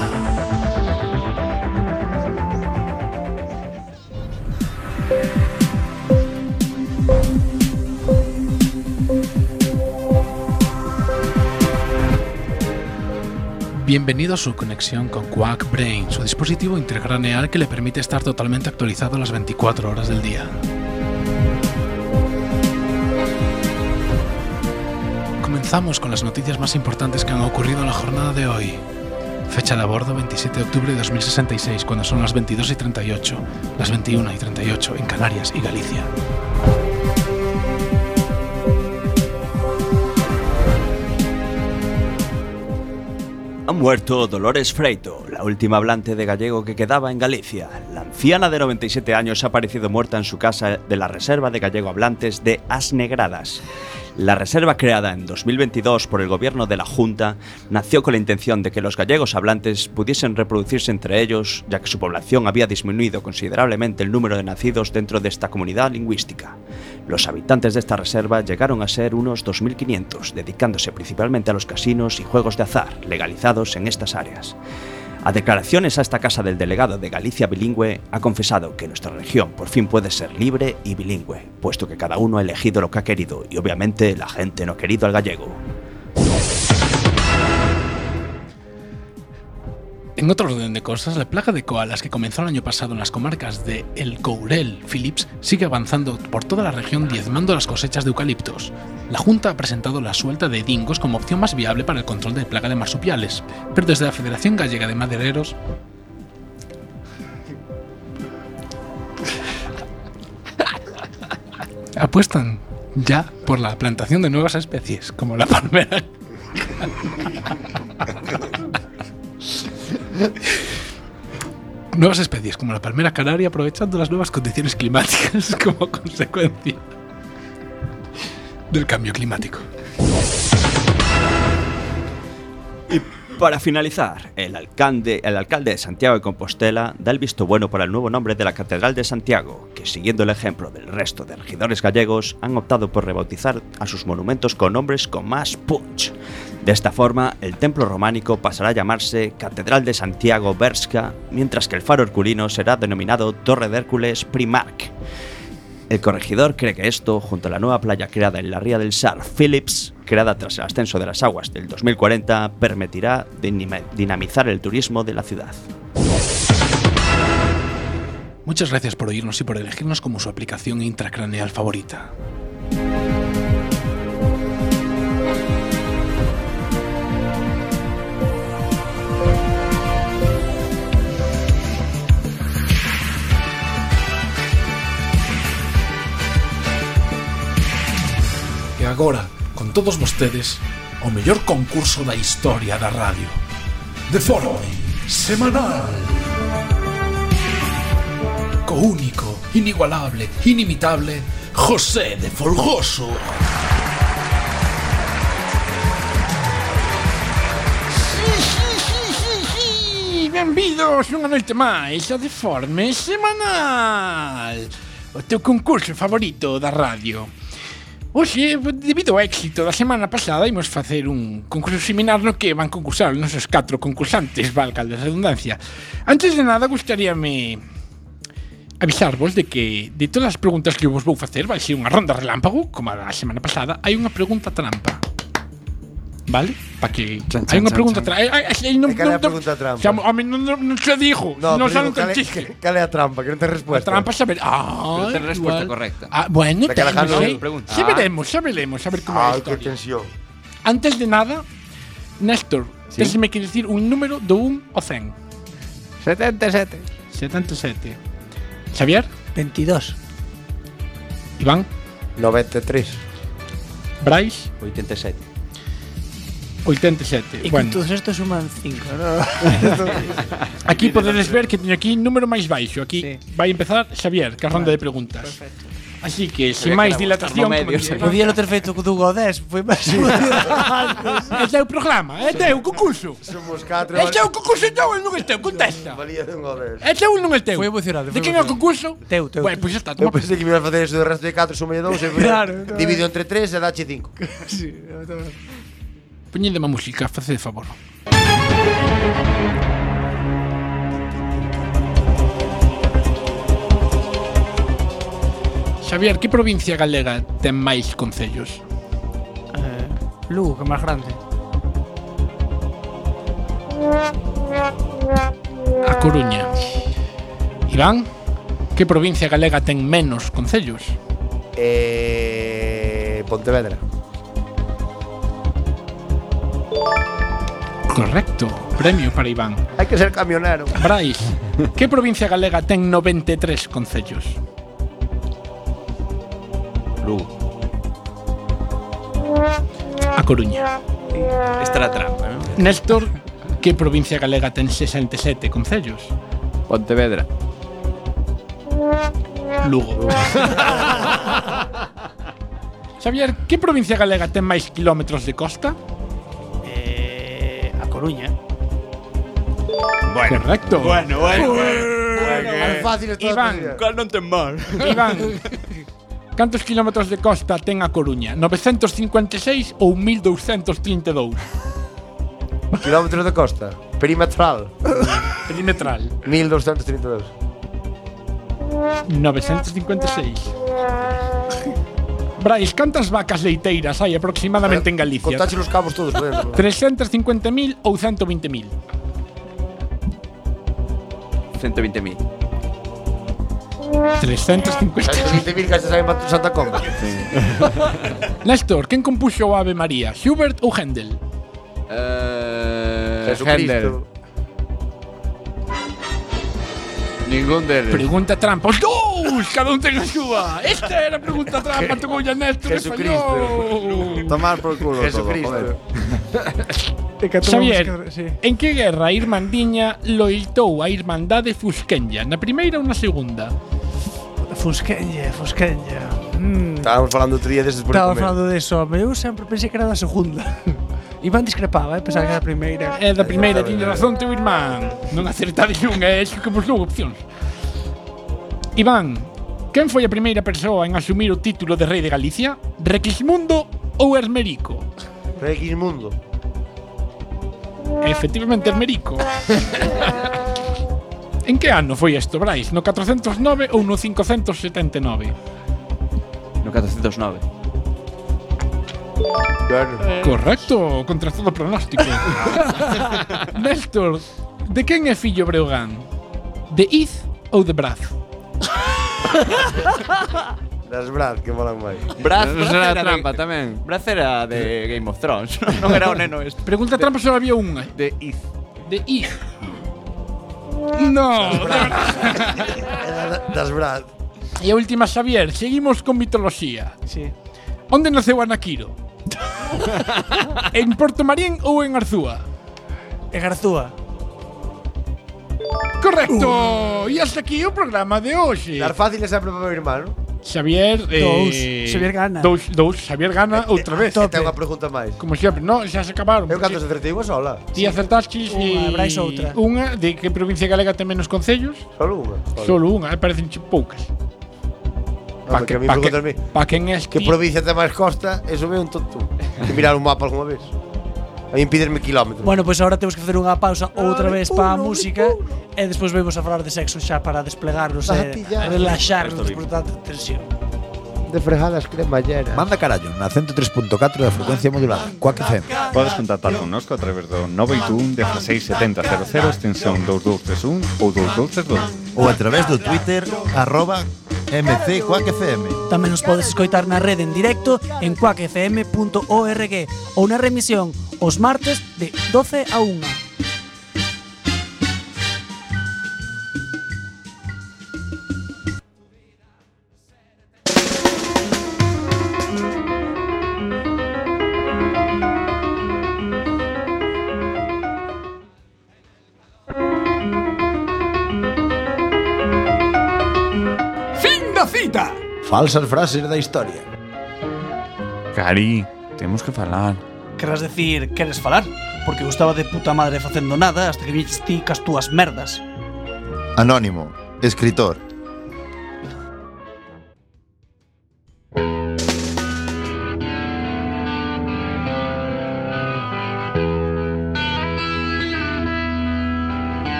Speaker 7: Bienvenido a su conexión con Quack Brain, su dispositivo intracraneal que le permite estar totalmente actualizado las 24 horas del día. Comenzamos con las noticias más importantes que han ocurrido en la jornada de hoy. Fecha de abordo 27 de octubre de 2066, cuando son las 22 y 38, las 21 y 38 en Canarias y Galicia.
Speaker 6: Ha muerto Dolores Freito, la última hablante de gallego que quedaba en Galicia. La anciana de 97 años ha aparecido muerta en su casa de la Reserva de Gallego Hablantes de Asnegradas. La reserva creada en 2022 por el gobierno de la Junta nació con la intención de que los gallegos hablantes pudiesen reproducirse entre ellos, ya que su población había disminuido considerablemente el número de nacidos dentro de esta comunidad lingüística. Los habitantes de esta reserva llegaron a ser unos 2.500, dedicándose principalmente a los casinos y juegos de azar legalizados en estas áreas. A declaraciones a esta casa del delegado de Galicia Bilingüe, ha confesado que nuestra región por fin puede ser libre y bilingüe, puesto que cada uno ha elegido lo que ha querido y obviamente la gente no ha querido al gallego.
Speaker 7: En En otro orden de cosas, la plaga de koalas que comenzó el año pasado en las comarcas de El Courel, Phillips, sigue avanzando por toda la región diezmando las cosechas de eucaliptos. La Junta ha presentado la suelta de dingos como opción más viable para el control de plaga de marsupiales, pero desde la Federación Gallega de Madereros apuestan ya por la plantación de nuevas especies, como la palmera Nuevas especies como la palmera canaria aprovechando las nuevas condiciones climáticas como consecuencia del cambio climático.
Speaker 6: Para finalizar, el alcalde, el alcalde de Santiago de Compostela da el visto bueno para el nuevo nombre de la Catedral de Santiago, que siguiendo el ejemplo del resto de regidores gallegos, han optado por rebautizar a sus monumentos con nombres con más punch. De esta forma, el templo románico pasará a llamarse Catedral de Santiago Berska, mientras que el faro herculino será denominado Torre de Hércules Primark. El corregidor cree que esto, junto a la nueva playa creada en la ría del Sar Phillips, creada tras el ascenso de las aguas del 2040, permitirá dinima- dinamizar el turismo de la ciudad.
Speaker 7: Muchas gracias por oírnos y por elegirnos como su aplicación intracraneal favorita. E agora, con todos vostedes, o mellor concurso da historia da radio. De Forme Semanal. Co único, inigualable, inimitable, José de Folgoso. Benvidos unha noite máis a Deforme Semanal O teu concurso favorito da radio Oxe, debido ao éxito da semana pasada Imos facer un concurso similar no que van concursar os nosos catro concursantes Valga a redundancia Antes de nada, gustaríame avisarvos de que de todas as preguntas que eu vos vou facer vai ser unha ronda relámpago, como a da semana pasada, hai unha pregunta trampa. Vale? Para que
Speaker 2: Chan,
Speaker 7: hai
Speaker 2: chan,
Speaker 7: unha
Speaker 2: chan,
Speaker 7: pregunta
Speaker 2: chan.
Speaker 7: trampa. Ai, non
Speaker 2: E cal é a
Speaker 7: non-
Speaker 2: pregunta trampa?
Speaker 7: Xa, home, non non- non se dijo,
Speaker 2: No,
Speaker 7: non
Speaker 2: pero
Speaker 7: saben
Speaker 2: digo, cal
Speaker 7: tan
Speaker 2: é-
Speaker 7: chisque.
Speaker 2: Cal é a trampa? Que non te
Speaker 7: A
Speaker 2: respuesta.
Speaker 7: trampa saber. Ah,
Speaker 2: Pero ten resposta
Speaker 7: igual.
Speaker 2: correcta.
Speaker 7: Ah, bueno,
Speaker 2: Para
Speaker 7: ten,
Speaker 2: que Alejandro
Speaker 7: non
Speaker 2: non
Speaker 7: sei.
Speaker 2: lo pregunte.
Speaker 7: Xa
Speaker 2: Ah.
Speaker 7: veremos, xa veremos, a ver como é a
Speaker 2: Ai, que
Speaker 7: historia.
Speaker 2: tensión.
Speaker 7: Antes de nada, Néstor,
Speaker 2: Sí.
Speaker 7: tesme que dicir un número do 1 ao 100. 77. 77. Xavier? 22. Iván?
Speaker 2: Ah. 93.
Speaker 7: Brais?
Speaker 6: 87.
Speaker 7: 87.
Speaker 1: E
Speaker 7: Bueno,
Speaker 1: bueno. todos estos suman 5, ¿no?
Speaker 7: aquí podedes ver que teño aquí un número máis baixo. Aquí sí. vai empezar Xavier, que a ronda de preguntas. Perfecto. Así que,
Speaker 1: Se
Speaker 7: sin
Speaker 1: ve
Speaker 7: máis
Speaker 1: que era vos,
Speaker 7: dilatación,
Speaker 1: termomedio, se podía non ter feito co Dugo 10, foi máis
Speaker 7: Ah, É teu programa, eh, é teu concurso.
Speaker 2: Somos catro.
Speaker 7: É teu concurso, teu, non é teu, contesta.
Speaker 2: Valía dun ao dez.
Speaker 7: É teu, non é teu.
Speaker 2: Foi emocionante,
Speaker 7: De
Speaker 2: foi
Speaker 7: quen é o concurso?
Speaker 1: Teu, teu.
Speaker 7: Bueno, pois xa está,
Speaker 2: Eu
Speaker 7: toma.
Speaker 2: pensei que me ibas a facer iso do resto de 4, sume 2 e
Speaker 7: Claro, claro.
Speaker 2: divido entre 3 e dache 5.
Speaker 7: Poñede má música, facede favor. Xavier, que provincia galega ten máis concellos?
Speaker 1: Eh, Lugo, que máis grande.
Speaker 7: A Coruña. Iván, que provincia galega ten menos concellos?
Speaker 2: Eh, Pontevedra.
Speaker 7: Correcto, premio para Iván.
Speaker 2: Hai que ser camionero.
Speaker 7: Brais, que provincia galega ten 93 concellos?
Speaker 6: Lugo.
Speaker 7: A Coruña.
Speaker 6: Esta era a trampa, ¿no?
Speaker 7: Néstor, que provincia galega ten 67 concellos?
Speaker 12: Pontevedra.
Speaker 7: Lugo. Xavier, que provincia galega ten máis kilómetros de costa?
Speaker 1: Eh, a Coruña.
Speaker 7: Bueno. Correcto.
Speaker 6: Bueno, bueno,
Speaker 7: bueno.
Speaker 2: fácil está
Speaker 7: Iván.
Speaker 6: Cal non ten mal.
Speaker 7: Iván, cantos kilómetros de costa ten a Coruña? 956 ou 1232?
Speaker 2: Kilómetros de costa. Perimetral.
Speaker 7: Perimetral.
Speaker 2: 1232.
Speaker 7: 956. Brais, cantas vacas leiteiras hai aproximadamente en Galicia?
Speaker 2: Contache os cabos todos, por dentro.
Speaker 7: 350.000 ou 120.000?
Speaker 6: 120.000.
Speaker 7: 350.
Speaker 2: 20.000 que se saben para tu Santa Comba.
Speaker 7: Néstor, quen compuxo o Ave María? Hubert ou Händel?
Speaker 11: Eh, Händel.
Speaker 2: Jesucristo.
Speaker 11: Ningún deles.
Speaker 7: Pregunta trampa. Os dous, cada un ten a súa. Esta era a pregunta trampa, tocou a Néstor e fallou.
Speaker 11: Tomar por culo
Speaker 2: Jesucristo.
Speaker 11: todo, joder.
Speaker 7: Xavier, en que guerra a Irmandiña loitou a Irmandade Fusquenlla? Na primeira ou na segunda?
Speaker 1: Fusquenlle, Fusquenlle. Mm.
Speaker 2: Estábamos falando outro día deses por
Speaker 1: Estaba
Speaker 2: comer.
Speaker 1: falando deso, hombre. eu sempre pensei que era da segunda. Iván discrepaba, eh, pensaba que era da primeira.
Speaker 7: É da primeira, tiña razón teu irmán. Non acertades unha, é iso que vos dou opcións. Iván, quen foi a primeira persoa en asumir o título de rei de Galicia? Requismundo ou Hermerico?
Speaker 2: Requismundo.
Speaker 7: E, Efectivamente, Hermerico. en que ano foi isto, Brais? No 409 ou no 579?
Speaker 6: No 409.
Speaker 2: Claro.
Speaker 7: Correcto, contra todo pronóstico. Néstor, de quen é fillo Breogán? De Iz ou de Braz?
Speaker 2: Das Brad, que molan máis.
Speaker 6: Braz,
Speaker 11: Non
Speaker 6: Braz
Speaker 11: será
Speaker 6: era
Speaker 11: trampa
Speaker 6: de,
Speaker 11: tamén.
Speaker 6: Braz era de Game of Thrones. non era o neno este.
Speaker 7: Pregunta trampa, só había unha.
Speaker 11: De Iz.
Speaker 7: De Iz. No, de verdad.
Speaker 2: Era Das Brad.
Speaker 7: E a última, Xavier, seguimos con mitoloxía.
Speaker 1: Sí.
Speaker 7: Onde naceu Anakiro? en Porto Marín ou en Arzúa?
Speaker 1: E Garzúa. Uh.
Speaker 7: Correcto! E hasta aquí o programa de hoxe.
Speaker 2: Dar fácil é sempre para o irmán.
Speaker 7: Xavier… Eh,
Speaker 1: Dous. Xavier gana.
Speaker 7: Dous, dous. Xavier
Speaker 2: Eh,
Speaker 7: gana outra vez.
Speaker 2: Top. Ten unha pregunta máis.
Speaker 7: Como sempre, no, xa se acabaron.
Speaker 2: Eu cando se acertei unha sola.
Speaker 7: Ti acertaste
Speaker 1: Unha, Brais, outra.
Speaker 7: unha de que provincia galega ten menos concellos?
Speaker 2: Solo unha.
Speaker 7: Solo unha, eh, parecen poucas.
Speaker 2: Pa que, a mí
Speaker 7: pa que,
Speaker 2: preguntarme
Speaker 7: pa que en este
Speaker 2: que provincia ten máis costa, eso ve un tonto. Hay que mirar un mapa alguna vez. A mí pídenme kilómetros.
Speaker 1: Bueno, pois pues agora temos que facer unha pausa outra vez para a música e despois vemos a falar de sexo xa para desplegarnos e
Speaker 2: Patillas.
Speaker 1: relaxarnos
Speaker 6: Esto
Speaker 1: por tanta tensión.
Speaker 2: de fregadas cremalleras.
Speaker 13: Manda carallo na 103.4 da frecuencia modulada. Coac FM.
Speaker 3: Podes contactar connosco a través do 921 167000 extensión 2231 ou 2232.
Speaker 14: Ou a través do Twitter arroba MC Quack FM.
Speaker 1: Tamén nos podes escoitar na rede en directo en cuacfm.org ou na remisión os martes de 12 a 1.
Speaker 13: Falsas frases da historia.
Speaker 3: Cari, temos que falar.
Speaker 1: Querrás decir, queres falar? Porque eu estaba de puta madre facendo nada hasta que viste ti cas túas merdas.
Speaker 14: Anónimo, escritor.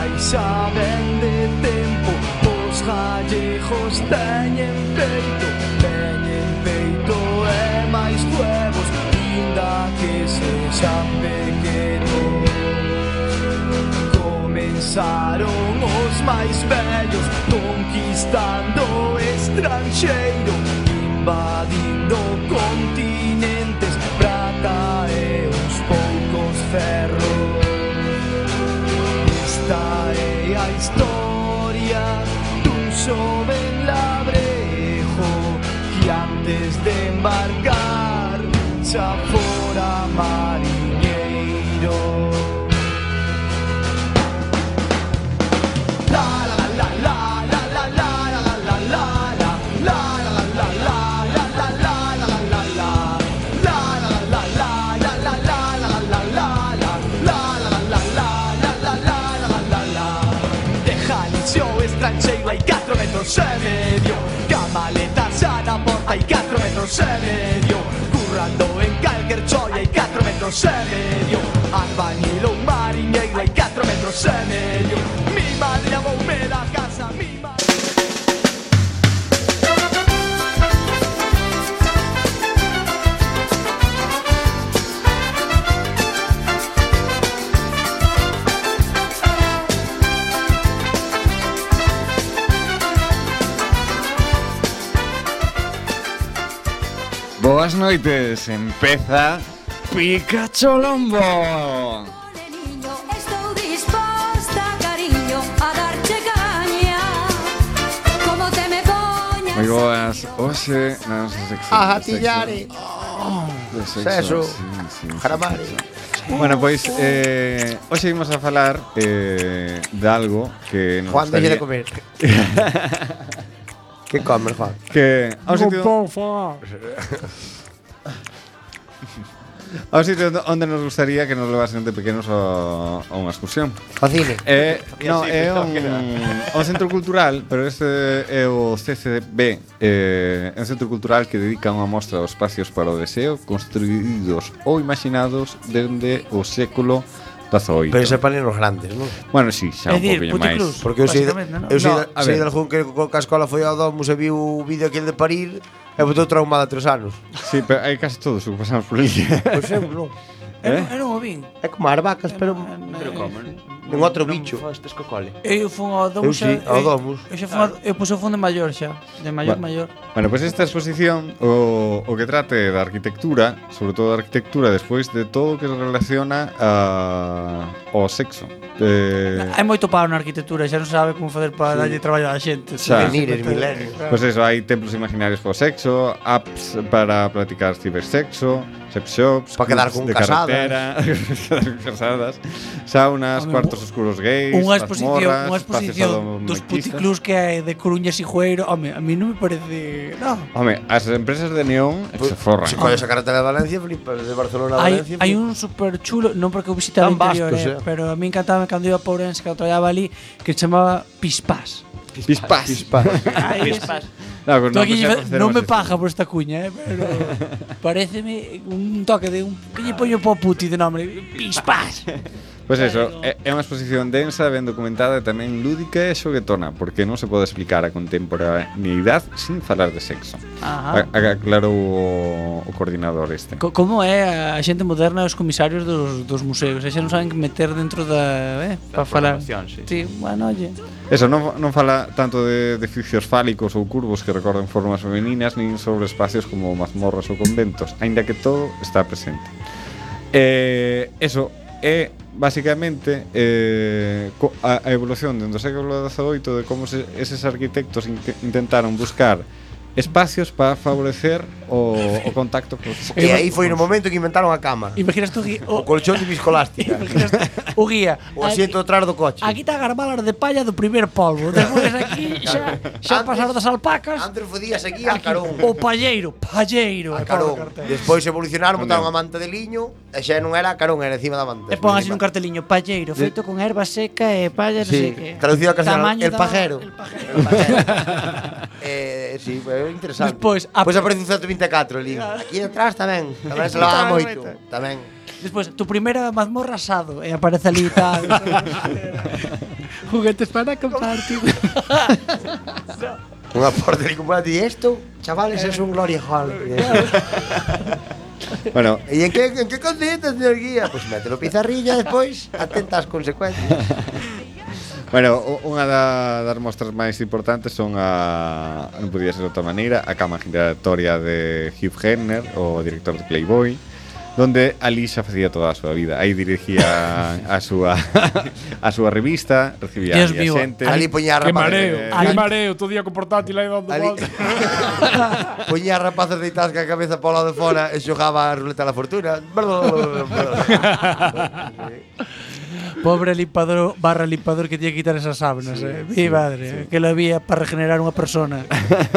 Speaker 12: Ay, saben de tempo Os gallejos teñen peito Teñen peito e máis huevos Inda que sexan pequenos Comenzaron os máis bellos Conquistando o estranxeiro Invadindo continentes Prata e uns poucos ferros Esta é a historia dun xoven labrejo que antes de embarcar xa fora mariñeiro. La la la la la la la la la la la la la la la la la la la la la la la la la la la la la la la la la la la la la la De Jalisco estranxeiro hai 4 metros e medio Camaleta xa na porta hai 4 metros e medio Currando en calquer choia hai 4 metros e medio Albañil ou mariñeiro hai 4 metros e medio Mi madre amoume da casa, mi madre
Speaker 3: Buenas noites, empeza Pikachu Lombo.
Speaker 5: Estou disposta, cariño, a darche caña Como te me poñas
Speaker 3: Moi boas, hoxe na nosa sección
Speaker 5: A
Speaker 3: de sexo-
Speaker 5: gatillare.
Speaker 3: de sexo,
Speaker 2: Sexo.
Speaker 3: sí, sí, sí,
Speaker 2: Jaramare.
Speaker 3: sí. Bueno, pois eh, hoxe imos a falar eh, de algo que nos
Speaker 2: Juan,
Speaker 3: gustaría...
Speaker 2: deixe de comer. que comes, Juan?
Speaker 3: Que ao sitio, ao sitio onde nos gustaría que nos levasen de pequenos ao- a unha excursión.
Speaker 2: O cine.
Speaker 3: Eh,
Speaker 2: E
Speaker 3: no,
Speaker 2: así,
Speaker 3: é
Speaker 2: pensaba
Speaker 3: un,
Speaker 2: que era.
Speaker 3: un centro cultural, pero este é o CCB, eh, é un centro cultural que dedica unha mostra aos espacios para o deseo construídos ou imaginados dende o século XVIII.
Speaker 2: Pero se palen os grandes, non?
Speaker 3: Bueno, sí, xa un pouquinho máis.
Speaker 2: Porque eu sei, eu sei,
Speaker 3: No,
Speaker 2: no,
Speaker 3: a
Speaker 2: sei
Speaker 3: ver.
Speaker 2: de algún que co- coa escola foi ao domus e viu o vídeo aquel de parir e botou traumada tres anos.
Speaker 3: Sí, pero hai casi todos o que pasamos por ali.
Speaker 2: Pois eu non.
Speaker 3: Eh?
Speaker 1: Eu non o vin.
Speaker 2: É como as vacas, pero...
Speaker 1: Pero comen.
Speaker 2: Un um- outro bicho.
Speaker 15: Fostes co cole.
Speaker 1: Eu fun ao
Speaker 2: Eu
Speaker 1: Domus.
Speaker 2: sí,
Speaker 1: xa-
Speaker 2: ao
Speaker 1: eu-
Speaker 2: Domus.
Speaker 1: Eu xa fun, ao- eu pois eu fun de maior xa, de maior
Speaker 3: Bueno.
Speaker 1: maior.
Speaker 3: Bueno, pois esta exposición o, o que trate da arquitectura, sobre todo da arquitectura despois de todo o que se relaciona a, ao sexo. Eh,
Speaker 1: Hai moito paro na arquitectura, xa non sabe como facer para
Speaker 3: Sí.
Speaker 1: darlle Ah, traballo á xente.
Speaker 3: Xa.
Speaker 1: Venires,
Speaker 2: milenios.
Speaker 3: Pois eso, hai templos imaginarios para o sexo, apps para platicar cibersexo, sex shops,
Speaker 2: Pa quedar
Speaker 3: clubs
Speaker 2: con ¿eh?
Speaker 3: de
Speaker 2: casadas.
Speaker 3: carretera, quedar con casadas, saunas,
Speaker 1: Home,
Speaker 3: cuartos oscuros gays,
Speaker 1: Unha exposición,
Speaker 3: mazmorras,
Speaker 1: unha
Speaker 3: espacios
Speaker 1: exposición dos
Speaker 3: sadomasoquistas.
Speaker 1: puticlubs que hai de Coruña e Xigueiro. Home, a mí non me parece, no.
Speaker 3: Home, as empresas de neón se forran.
Speaker 2: Se colles a carretera de Valencia, flipas, de Barcelona a
Speaker 1: Hai,
Speaker 2: Valencia.
Speaker 1: hai un super chulo, non porque eu visitaba o
Speaker 2: Tan vascos,
Speaker 1: interior, eh,
Speaker 2: eh.
Speaker 1: pero a mí encantaba cando iba por Ourense, cando traballaba ali, que se chamaba Pispás.
Speaker 3: Pispas.
Speaker 2: Pispas.
Speaker 1: Pispas.
Speaker 3: No, pues
Speaker 1: Tú
Speaker 3: no,
Speaker 1: aquí
Speaker 3: pues
Speaker 1: lleva-
Speaker 3: ya conoceremos
Speaker 1: non me
Speaker 3: esto.
Speaker 1: paja por esta cuña, eh, pero pareceme un toque de un que lle poño po puti de nome, Pispás.
Speaker 3: Pois eso, é é unha exposición densa, ben documentada e tamén lúdica e xoguetona, porque non se pode explicar a contemporaneidade sin falar de sexo.
Speaker 1: Ajá.
Speaker 3: A- a- Aclarou o, o coordinador este.
Speaker 1: Co- Como é a xente moderna os comisarios dos, dos museos? E xa non saben que meter dentro da, eh, para falar.
Speaker 15: programación, sí.
Speaker 1: sí, bueno, oye.
Speaker 3: Eso, non, non fala tanto de edificios fálicos ou curvos que recorden formas femeninas nin sobre espacios como mazmorras ou conventos, aínda que todo está presente. Eh, eso é basicamente eh, co- a, a evolución dentro do século XVIII de como se, eses arquitectos in, intentaron buscar espacios para favorecer o, o contacto co
Speaker 2: E aí foi no momento que inventaron a cama.
Speaker 1: Imaginas tú que
Speaker 2: O colchón de viscolástica.
Speaker 1: o guía
Speaker 2: o asiento atrás do coche.
Speaker 1: Aquí está garbalas de palla do primer polvo. Despois aquí xa, xa pasar das alpacas.
Speaker 2: Antes fodías aquí a carón.
Speaker 1: O palleiro, palleiro.
Speaker 2: A
Speaker 1: e pon o
Speaker 2: carón.
Speaker 1: cartel.
Speaker 2: Despois evolucionaron, botaron a manta de liño e xa non era a carón, era encima da manta.
Speaker 1: E pon así un carteliño palleiro, feito con erva seca e palla, non
Speaker 2: Sí,
Speaker 1: sei que.
Speaker 2: traducido a castellano,
Speaker 1: Tamaño
Speaker 2: el
Speaker 1: da-
Speaker 2: pajero.
Speaker 1: el pajero.
Speaker 2: Eh, sí, é interesante.
Speaker 1: Despois, a-
Speaker 2: Pois aparece un 124 ali. Aquí atrás tamén, tamén se lavaba moito, tamén.
Speaker 1: Despois, tu primeira mazmorra asado e aparece ali tal. Juguetes para compartir.
Speaker 2: Unha porta de como ti isto, chavales, es un glory hall.
Speaker 3: Bueno,
Speaker 2: E en que en que consiste, señor guía? Pois pues mételo pizarrilla despois, atenta ás consecuencias.
Speaker 3: Bueno, u- unha da, das mostras máis importantes son a non podía ser de outra maneira, a cama giratoria de Hugh Hefner, o director de Playboy, donde ali xa facía toda a súa vida. Aí dirigía a súa a súa revista, recibía
Speaker 1: Dios
Speaker 3: ali a
Speaker 1: mío,
Speaker 3: xente.
Speaker 2: Ali poñía
Speaker 7: Que
Speaker 2: rapazes.
Speaker 7: mareo, que
Speaker 1: Ali-
Speaker 7: mareo, todo día con portátil aí dando
Speaker 2: Ali-
Speaker 7: voltas.
Speaker 2: Poñía rapazes deitadas ca cabeza para o lado de fora e xogaba a ruleta da fortuna.
Speaker 1: Pobre lipador barra lipador que tiña que quitar esas sábanas, eh. Mi madre, que lo había para regenerar unha persona.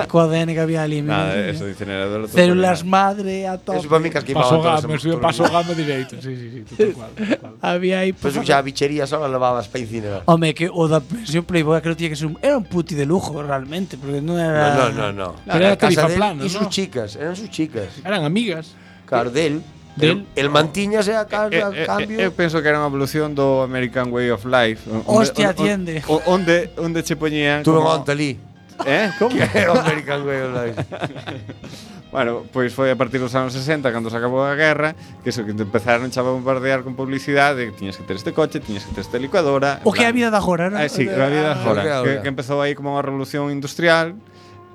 Speaker 1: Coa ADN que había ali. mi
Speaker 3: Nada,
Speaker 1: madre.
Speaker 3: eso de incinerador. todo
Speaker 1: Células madre a
Speaker 2: Eso
Speaker 1: tope.
Speaker 2: para mí que as queimaba
Speaker 7: Paso
Speaker 2: todas as
Speaker 7: game, subiu
Speaker 2: fortunas.
Speaker 7: paso game direito. Sí, sí, sí, tal cual, tal cual.
Speaker 1: Había aí
Speaker 2: Pois xa a bichería só levabas para incinerar.
Speaker 1: Home, que o da pensión Playboy creo que tiña que ser un, era un puti de lujo realmente, porque non era
Speaker 2: No, no, no, no.
Speaker 7: Pero era
Speaker 2: A
Speaker 7: tarifa
Speaker 2: casa del
Speaker 7: plana,
Speaker 2: E sus
Speaker 7: ¿no?
Speaker 2: chicas, eran sus chicas.
Speaker 7: Eran amigas.
Speaker 2: Claro, del. El, el mantiñase a casa,
Speaker 3: Eh,
Speaker 2: a
Speaker 3: eh,
Speaker 2: cambio.
Speaker 3: eh, Eu penso que era unha evolución do American Way of Life. onde-
Speaker 1: Hostia,
Speaker 3: onde-
Speaker 1: atiende.
Speaker 3: o- Onde onde che poñían
Speaker 2: Tuve un
Speaker 3: como-
Speaker 2: onte ali.
Speaker 3: Eh? Como?
Speaker 2: Era o American Way of Life.
Speaker 3: Bueno, pois foi a partir dos anos 60 cando se acabou a guerra que eso que te empezaron xa a bombardear con publicidade que tiñas que ter este coche, tiñas que ter esta licuadora en
Speaker 1: O que é a
Speaker 3: plan-
Speaker 1: vida da agora, non?
Speaker 3: Ah, sí, a vida agora,
Speaker 2: o que é
Speaker 3: que,
Speaker 2: agora.
Speaker 10: pues
Speaker 3: que empezou aí como unha revolución industrial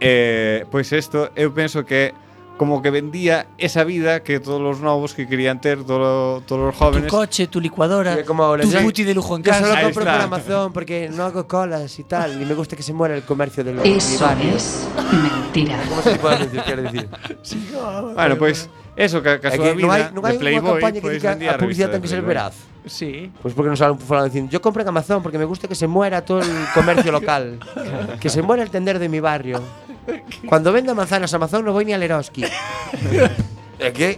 Speaker 3: eh, pois isto eu penso que é
Speaker 10: como que vendía esa vida que todos los novos que querían ter, todo- todos los
Speaker 1: Tu
Speaker 10: jóvenes.
Speaker 1: coche, tu licuadora,
Speaker 2: Que como ahora
Speaker 1: tu
Speaker 2: ya-
Speaker 1: puti de lujo en
Speaker 2: Yo
Speaker 1: casa.
Speaker 2: solo compro por Amazon porque no hago colas y tal. Y me gusta que se muera el comercio de los
Speaker 16: Eso
Speaker 2: rivales.
Speaker 16: es mentira.
Speaker 2: ¿Cómo se le puede decir? Quiero decir.
Speaker 10: Bueno, pues eso, que, que a
Speaker 2: É
Speaker 10: súa
Speaker 2: que non hai,
Speaker 10: vida
Speaker 2: non
Speaker 10: de
Speaker 2: hai unha
Speaker 10: Playboy,
Speaker 2: campaña que
Speaker 10: pois
Speaker 2: diga
Speaker 10: vendía
Speaker 2: a publicidade
Speaker 10: revista
Speaker 2: ten que ser
Speaker 10: Playboy.
Speaker 2: veraz.
Speaker 1: Sí.
Speaker 2: Pois Pues porque non salen fulano dicindo, yo compro en Amazon porque me gusta que se muera todo el comercio local. que se muera el tender de mi barrio. Cuando venda manzanas Amazon no voy ni a Leroski. é que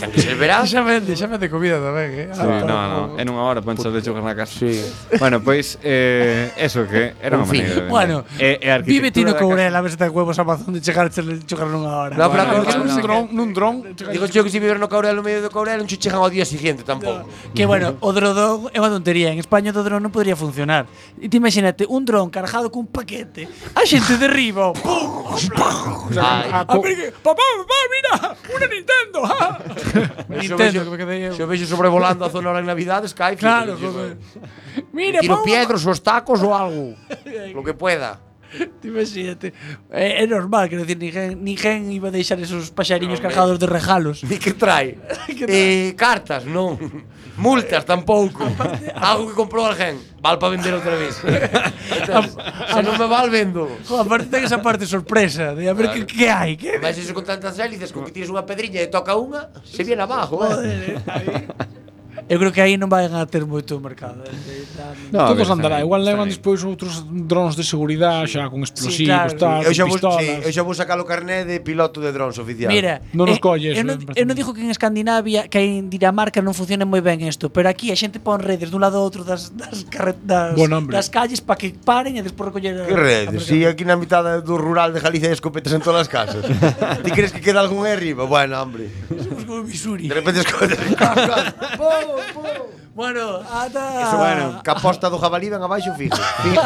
Speaker 2: ten que ser veraz.
Speaker 17: Xa vende, xa vende comida tamén, eh.
Speaker 10: Sí, no, no, en unha hora panchas de xogar na casa. Sí. Bueno, pois eh, eso que era unha
Speaker 17: En fin.
Speaker 10: maneira de
Speaker 3: Eh,
Speaker 10: vender.
Speaker 17: Bueno,
Speaker 10: e, e a arquitectura
Speaker 1: Vive Tino
Speaker 10: da
Speaker 1: Courel a ver se ten huevos Amazon de chegar chegar nunha hora.
Speaker 2: No, pero agora
Speaker 1: un dron-
Speaker 7: nun dron.
Speaker 2: Digo yo que si viver no Courel no medio do Courel non chuchejan ao día siguiente tampouco.
Speaker 1: Que bueno, o drodón é unha tontería. En España o dron non podría funcionar. E ti imagínate un dron cargado cun paquete. A xente derriba. Pum!
Speaker 2: Ai.
Speaker 1: A ver que, papá, papá, mira, una Nintendo. ah". Nintendo, que me quedei eu.
Speaker 2: Se o vexo sobrevolando a zona ahora en Navidad, Skype.
Speaker 1: Claro,
Speaker 2: joder.
Speaker 1: Mira,
Speaker 2: Tiro
Speaker 1: pon-
Speaker 2: piedras o tacos o algo. lo que pueda.
Speaker 1: Ti Imagínate. É, é este- eh, normal, quero dicir, ninguén, ninguén iba a deixar esos paxariños cargados de regalos.
Speaker 2: Di que trae? eh, cartas, non. Multas tampouco. Algo que comprou alguén. Val para vender outra vez. Entens? Se non me val, vendo.
Speaker 1: Jo, aparte ten esa parte sorpresa de a ver que, que hai, que
Speaker 2: Vais eso con tantas hélices, con que tires unha pedriña e toca unha, se viene abajo, eh.
Speaker 1: Eu creo que aí non van a ter moito mercado. eh,
Speaker 7: No, todos andará, igual levan despois outros drons de seguridade xa con explosivos, sí, claro. tal,
Speaker 2: eu xa
Speaker 7: con
Speaker 2: vou,
Speaker 7: pistolas.
Speaker 2: sí, eu xa vou sacar o carné de piloto de drones oficial.
Speaker 1: Mira, eh, Eu non, eu non digo que en Escandinavia, que en Dinamarca non funcione moi ben isto, pero aquí a xente pon redes dun lado ao outro das das carre- das,
Speaker 2: Buen hombre.
Speaker 1: das calles para que paren e despois recoller a-
Speaker 2: Que
Speaker 1: a-
Speaker 2: redes? Si aquí na mitad do rural de Galicia hai escopetas en todas as casas. Ti crees que queda algún aí arriba? Bueno, hombre.
Speaker 1: Somos como Missouri.
Speaker 2: De repente escopetas.
Speaker 1: bueno, ata
Speaker 2: Eso, bueno, que a posta do jabalí ven abaixo fijo. Fijo.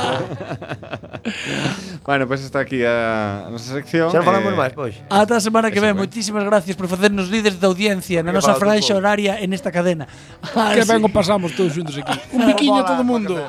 Speaker 10: Bueno, pois está aquí a nosa sección. Eh,
Speaker 2: Xa non falamos máis, pois.
Speaker 1: Ata a semana que ven, moitísimas gracias por facernos líderes da audiencia na
Speaker 7: Que
Speaker 1: nosa
Speaker 7: fala
Speaker 1: franxa
Speaker 7: todo.
Speaker 1: horaria en esta cadena.
Speaker 7: Que ben o pasamos todos xuntos aquí. Un piquiño a todo mundo.